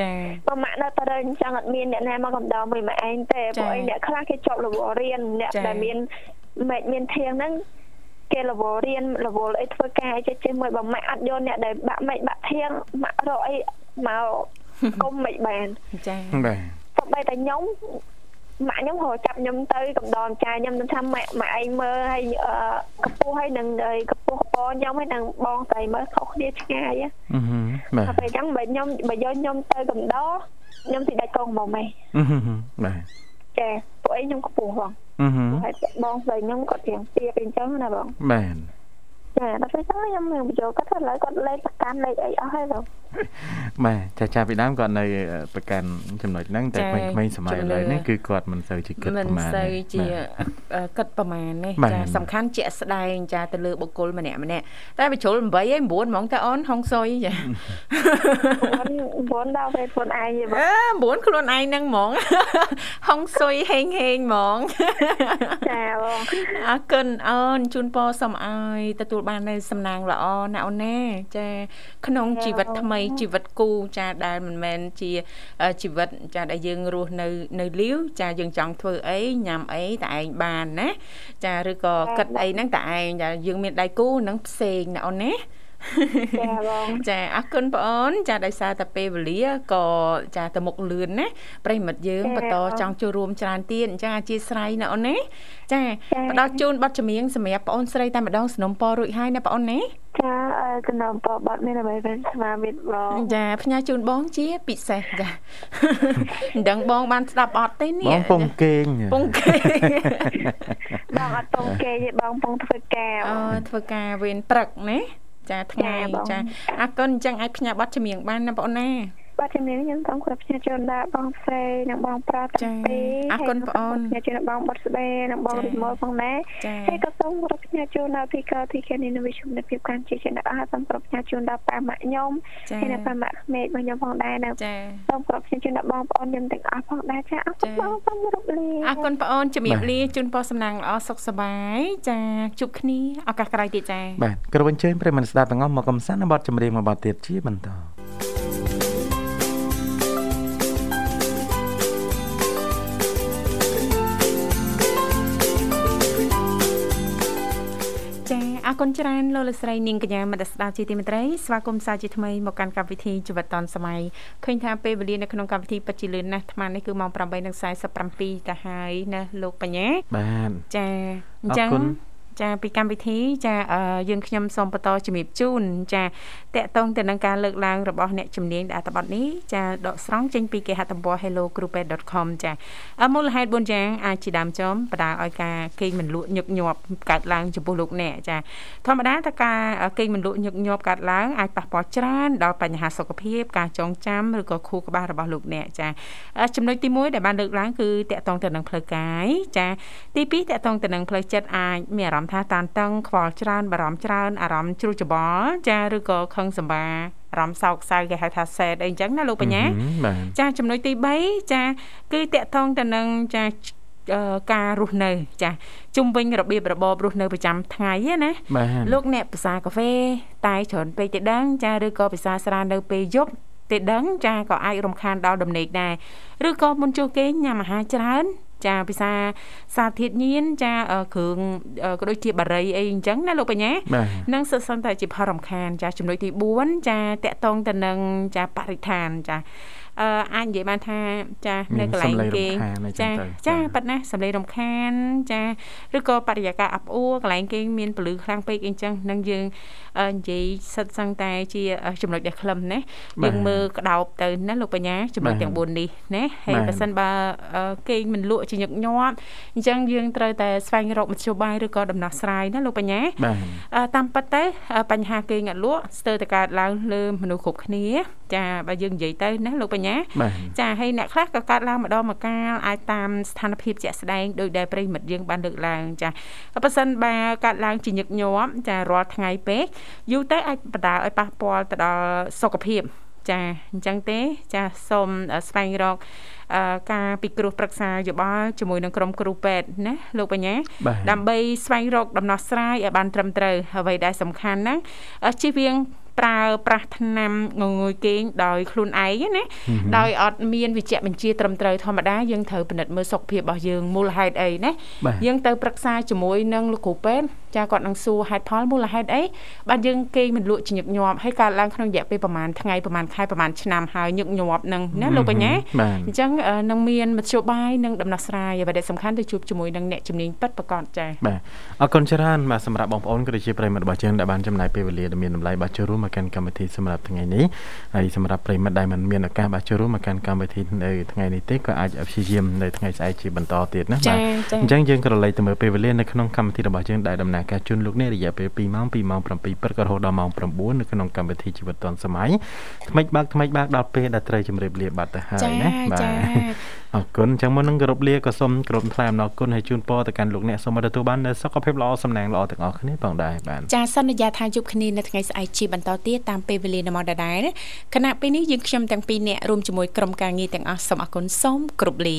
[SPEAKER 2] ចា
[SPEAKER 5] បើម៉ាក់នៅទៅរើសអញ្ចឹងអត់មានអ្នកណាមកកម្ដរមួយម៉ាក់ឯងទេព្រោះឯងអ្នកខ្លះគេជាប់រវល់រៀនអ្នកដែលមានម៉េចមានធៀងហ្នឹងគេរវល់រៀនរវល់អីធ្វើការចេះចេះមួយបើម៉ាក់អត់យកអ្នកដែលបាក់ម៉េចបាក់ធៀងម៉ាក់រកអីមកគុំមិនបាន
[SPEAKER 2] ចា
[SPEAKER 3] បាទ
[SPEAKER 5] តែបែរតែខ្ញុំម៉ាក់ខ្ញុំហៅចាប់ខ្ញុំទៅកំដរចាយខ្ញុំនឹងថាម៉ាក់ម៉ាក់ឯងមើលហើយអឺកំពស់ហើយនឹងអីកំពស់កពរខ្ញុំហើយនឹងបងស្រីមើលខុសគ្នាឆ្ងាយ
[SPEAKER 3] អឺហឹមបាទ
[SPEAKER 5] តែពេលអញ្ចឹងបើខ្ញុំបើយកខ្ញុំទៅកំដរខ្ញុំទីដាច់កងមកម៉េះ
[SPEAKER 3] អឺហឹមបាទ
[SPEAKER 5] ចាពួកឯងខ្ញុំកំពស់ផង
[SPEAKER 3] អឺហឹម
[SPEAKER 5] ហើយបងស្រីខ្ញុំគាត់ទៀងទាបអីអញ្ចឹងណាបង
[SPEAKER 3] បាទ
[SPEAKER 5] ចាដល់ពេលហ្នឹងខ្ញុំមានបញ្ចូលគាត់ថាឥឡូវគាត់លេខប្រកាន់លេខអីអស់ហើយបង
[SPEAKER 3] បាទចាចាពីដើមគាត់នៅប្រកាន់ចំណុចហ្នឹងតែក្មេងៗសម័យឥឡូវនេះគឺគាត់មិនសូវជាគិត
[SPEAKER 2] មិន
[SPEAKER 3] ប្រមាណទេ
[SPEAKER 2] សូវជា
[SPEAKER 3] បាទ
[SPEAKER 2] គិតប្រមាណនេះ
[SPEAKER 3] បាទ
[SPEAKER 2] ចាសំខាន់ជាក់ស្ដែងចាទៅលើបុគ្គលម្នាក់ម្នាក់តែបញ្ជ្រុល8ហើយ9ហ្មងតែអូនហុងសុយចា
[SPEAKER 5] គាត់គាត់ដល់ពេលខ្លួនឯងទេបង
[SPEAKER 2] អើ9ខ្លួនឯងហ្នឹងហ្ម ង ហុងសុយហេងហេងហ្មង
[SPEAKER 5] ចាបង
[SPEAKER 2] អរគុណអូនជូនពរសូមឲ្យទទួលបាននូវសំណាងល្អណាអូនណាចាក្នុងជីវិតថ្មីជីវិតគូចាដែលមិនមែនជាអឺជីវិតចាដែលយើងរស់នៅនៅលាវចាយើងចង់ធ្វើអីញ៉ាំអីតែឯងបានណាចាឬក៏គិតអីហ្នឹងតែឯងចាយើងមានដៃគូហ្នឹងផ្សេងណាអូនណា
[SPEAKER 5] ចាបង
[SPEAKER 2] ចាអរគុណបងអូនចាដោយសារតែពេលវេលាក៏ចាទៅមុខលឿនណាប្រិយមិត្តយើងបន្តចង់ចូលរួមច្រើនទៀតអញ្ចឹងអធិស្ឋានណាអូនណាចាផ្ដល់ជូនប័ណ្ណចម្រៀងសម្រាប់បងអូនស្រីតែម្ដងสนុំពររួចហើយណាបងអូនណា
[SPEAKER 5] ចាអើកណ្ដំបបត់មានអ្វីវិញស្មាមានបង
[SPEAKER 2] ចាផ្ញើជូនបងជាពិសេសចា មិនដឹងបងបានស្ដាប់អត់ទេនេះ
[SPEAKER 3] បងពងកេង
[SPEAKER 2] ពងគេ
[SPEAKER 5] បងអត់ពងគេទេបងពងធ្វើការ
[SPEAKER 2] អូធ្វើការវេនព្រឹកណាចាថ្ងៃ
[SPEAKER 5] ចាបង
[SPEAKER 2] ចាអរគុណអញ្ចឹងអាចផ្ញើប័ណ្ណចម្រៀងបានណាបងអូនណា
[SPEAKER 5] បាទជំនាញខ្ញុំសូមគោរពជាជនដែរបងស្រីនិងបងប្រុស
[SPEAKER 2] ចា៎
[SPEAKER 5] ទាំងពីរ
[SPEAKER 2] អរគុណបងអូន
[SPEAKER 5] ជាជនបងបុតស្បែនិងបង
[SPEAKER 2] ចា៎
[SPEAKER 5] រីម៉ូផងដែរ
[SPEAKER 2] ចា
[SPEAKER 5] ហើយក៏សូមគោរពជាជនដល់ពីកោទីកានីនវិជំនភាពកម្មជាជនអស់សូមគោរពជាជនដល់ប៉ាម៉ាក់ខ្ញុំ
[SPEAKER 2] ចា
[SPEAKER 5] ហើយនិងប៉ាម៉ាក់ក្មេករបស់ខ្ញុំផងដែរនៅ
[SPEAKER 2] ចា
[SPEAKER 5] សូមគោរពជាជនដល់បងប្អូនខ្ញុំទាំងអស់ផងដែរចាអរគុណ
[SPEAKER 2] ចា៎
[SPEAKER 5] បងសូមគោរពលា
[SPEAKER 2] អរគុណបងអូនជំរាបលាជូនពរសំណាងល្អសុខសប្បាយចាជួបគ្នាឱកាសក្រោយទៀតចា
[SPEAKER 3] បាទក្រុមអញ្ជើញប្រិយមិត្តស្ដាប់ទាំងអស់មកកំសាន្តនៅបទចម្រៀងមួយបទទៀតជាបន្ត
[SPEAKER 2] ចាអរគុណច្រើនលោកលកស្រីនាងកញ្ញាមត្តស្ដាប់ជាទីមេត្រីស្វាគមន៍សាជាថ្មីមកកាន់កម្មវិធីជីវិតឌុនសម័យឃើញថាពេលវេលានៅក្នុងកម្មវិធីពិតជាលឿនណាស់អាត្មានេះគឺម៉ោង8:47ទៅហើយណាលោកបញ្ញា
[SPEAKER 3] បាទ
[SPEAKER 2] ចាអញ្ចឹង
[SPEAKER 3] អរគុណ
[SPEAKER 2] ចាពីកម្មវិធីចាអឺយើងខ្ញុំសូមបន្តជំរាបជូនចាតកតងទៅនឹងការលើកឡើងរបស់អ្នកជំនាញដែលអត្ថបទនេះចាដកស្រង់ចេញពីគេហទំព័រ hellogroup.com ចាអឺមូលហេតុ4យ៉ាងអាចជាដើមចំបដាលឲ្យការគេងមិនលក់ញឹកញាប់កើតឡើងចំពោះលោកអ្នកចាធម្មតាតើការអឺគេងមិនលក់ញឹកញាប់កើតឡើងអាចប៉ះពាល់ច្រើនដល់បញ្ហាសុខភាពការចងចាំឬក៏ខួរក្បាលរបស់លោកអ្នកចាអឺចំណុចទី1ដែលបានលើកឡើងគឺតកតងទៅនឹងផ្លូវកាយចា ទី2តកតងទៅនឹងផ្លូវចិត្តអាចមានអារម្មណ៍ថាតានតឹងខ្វល់ច្រើនបារម្ភច្រើនអារម្មណ៍ជ្រុះច្របល់ចាឬក៏ខឹងសម្បារអារម្មណ៍សោកសៅគេហៅថាសែតអីអញ្ចឹងណាលោកបញ្ញា
[SPEAKER 3] បាទ
[SPEAKER 2] ចាចំណុចទី3ចាគឺតកតងទៅនឹងចាអឺការរស់នៅចាជុំវិញរបៀបរបបរស់នៅប្រចាំថ្ងៃហ្នឹងណា
[SPEAKER 3] បាទ
[SPEAKER 2] លោកអ្នកភាសាកាហ្វេតែច្រើនពេកទៅដឹងចាឬក៏ភាសាស្រានៅពេលយប់ទៅដឹងចាក៏អាចរំខានដល់ដំណេកដែរឬក៏មុនចូលគេងញ៉ាំអាហារច្រើន ចាភាសាសារធាតុញៀនចាអឺគ្រឿងអឺក៏ដូចជាបារីអីអញ្ចឹងណាលោកបញ្ញា
[SPEAKER 3] បាទ
[SPEAKER 2] នឹងសិតសន្តែជាផលរំខានចាចំណុចទី4ចាតកតងទៅនឹងចាបរិស្ថានចាអឺអាចនិយាយបានថាចានៅកន្លែងគេង
[SPEAKER 3] ចា
[SPEAKER 2] ចា
[SPEAKER 3] ចា
[SPEAKER 2] ចាប៉ាត់ណាសម្លេងរំខានចាឬក៏បរិយាកាសអាប់អួរកន្លែងគេងមានពលឺខ្លាំងពេកអីចឹងនឹងយើងអឺនិយាយសិតសន្តែជាអឺចំណុចដែលខ្លឹមណាយើងមើលក្តោបទៅណាលោកបញ្ញាចំណុចទាំង4នេះណាហើយបើសិនបើអឺគេងមិនលក់ជាញឹកញាប់អញ្ចឹងយើងត្រូវតែស្វែងរកមធ្យោបាយឬក៏ដំណោះស្រាយណាលោកបញ្ញា
[SPEAKER 3] បា
[SPEAKER 2] អឺ
[SPEAKER 3] ទ
[SPEAKER 2] តាមពិតទៅអឺបញ្ហាគេងអត់លក់ស្ទើរតែកើតឡើងលើមនុស្សគ្រប់គ្នា ចាបើយើងនិយាយទៅណាលោកបញ្ញា
[SPEAKER 3] បាទ
[SPEAKER 2] ចាហើយអ្នកខ្លះក៏កើតឡើងម្ដងម្កាលអាចតាមស្ថានភាពជាក់ស្ដែងដោយដែលប្រិយមិត្តយើងបានលើកឡើងចាប៉ះសិនបើកើតឡើងជាញឹកញាប់ចារាល់ថ្ងៃពេកយូរទៅអាចបណ្ដាលឲ្យប៉ះពាល់ទៅដល់សុខភាព ចាអញ្ចឹងទេ ចាសូមអឺស្វែងរក អឺការពិគ្រោះប្រឹក្សាយោបល់ជាមួយនឹងក្រុមគ្រូពេទ្យណាលោកបញ្ញា
[SPEAKER 3] បាទ
[SPEAKER 2] ដើម្បីស្វែងរកដំណោះស្រាយឲ្យបានត្រឹមត្រូវអ្វីដែលសំខាន់ហ្នឹងអឺជិះវៀងប្រើប្រាស់ថ្នាំងងុយគេងដោយខ្លួនឯងណាដោយអត់មានវិជ្ជបញ្ជាត្រឹមត្រូវធម្មតាយើងត្រូវពិនិត្យមើលសុខភាពរបស់យើងមូលហេតុអីណា
[SPEAKER 3] បាទ
[SPEAKER 2] យើងទៅប្រឹក្សាជាមួយនឹងលោកគ្រូពេទ្យចាគាត់នឹងសួរហេតុផលមូលហេតុអីបាទយើងគេងមិនលក់ជាញឹកញាប់ហើយកើតឡើងក្នុងរយៈពេលប្រហែលថ្ងៃប្រហែលខែប្រហែលឆ្នាំហើយញឹកញាប់ហ្នឹងណាលោកបញ្ញា
[SPEAKER 3] បា
[SPEAKER 2] អ
[SPEAKER 3] ទ
[SPEAKER 2] ញ្ចឹងអឺនឹងមានមធ្យោបាយនិងដំណោះស្រាយអ្វីដែលសំខាន់ទៅជួបជាមួយនឹងអ្នកជំនាញពិតប្រាកដចា
[SPEAKER 3] បាទអរគុណច្រើនបាទសម្រាប់បងប្អូនក៏ដូចជាប្រិយមិត្តរបស់យើងដែលបានចំណាយពេលវេលាដ៏មានតម្លៃបាទចូលរួមមកកាន់កម្មវិធីសម្រាប់ថ្ងៃនេះហើយសម្រាប់ប្រិយមិត្តដែលមិនមានឱកាសបាទចូលរួមមកកាន់កម្មវិធីនៅថ្ងៃនេះទេក៏អាចព្យាយាមនៅថ្ងៃស្អែកជាបន្តទៀតណា
[SPEAKER 2] ចា៎
[SPEAKER 3] បាទ
[SPEAKER 2] ចា៎
[SPEAKER 3] អញ្ចឹងយើងក៏រលែកទៅមើលពេលវេលានៅក្នុងកម្មវិធីរបស់យើងដែលដំណើរការជូនលោកនេះរយៈពេល2ម៉ោង2ម៉ោង7ព្រឹករហូតដល់ម៉ោង9នៅក្នុងកម្មវិធីជីវិតឌុនសម័យថ្មីបើកថ្មីបើកដល់ពេលដែលត្រូវជម្រាបលាបាត់ទៅហើយណាបាទ អរគុណអញ្ចឹងមុននឹងគោរពលាក៏សូមគោរពថ្លែងអំណរគុណហើយជូនពរទៅកាន់លោកអ្នកសូមឲ្យទទួលបាននូវសុខភាពល្អសំណាងល្អទាំងអស់គ្នាផងដែរបាទ
[SPEAKER 6] ចាសន្យាថាជួបគ្នានៅថ្ងៃស្អែកជាបន្តទៀតតាមពេលវេលាណាមកដដែលខណៈពេលនេះយើងខ្ញុំទាំងពីរនាក់រួមជាមួយក្រុមការងារទាំងអស់សូមអរគុណសូមគោរពលា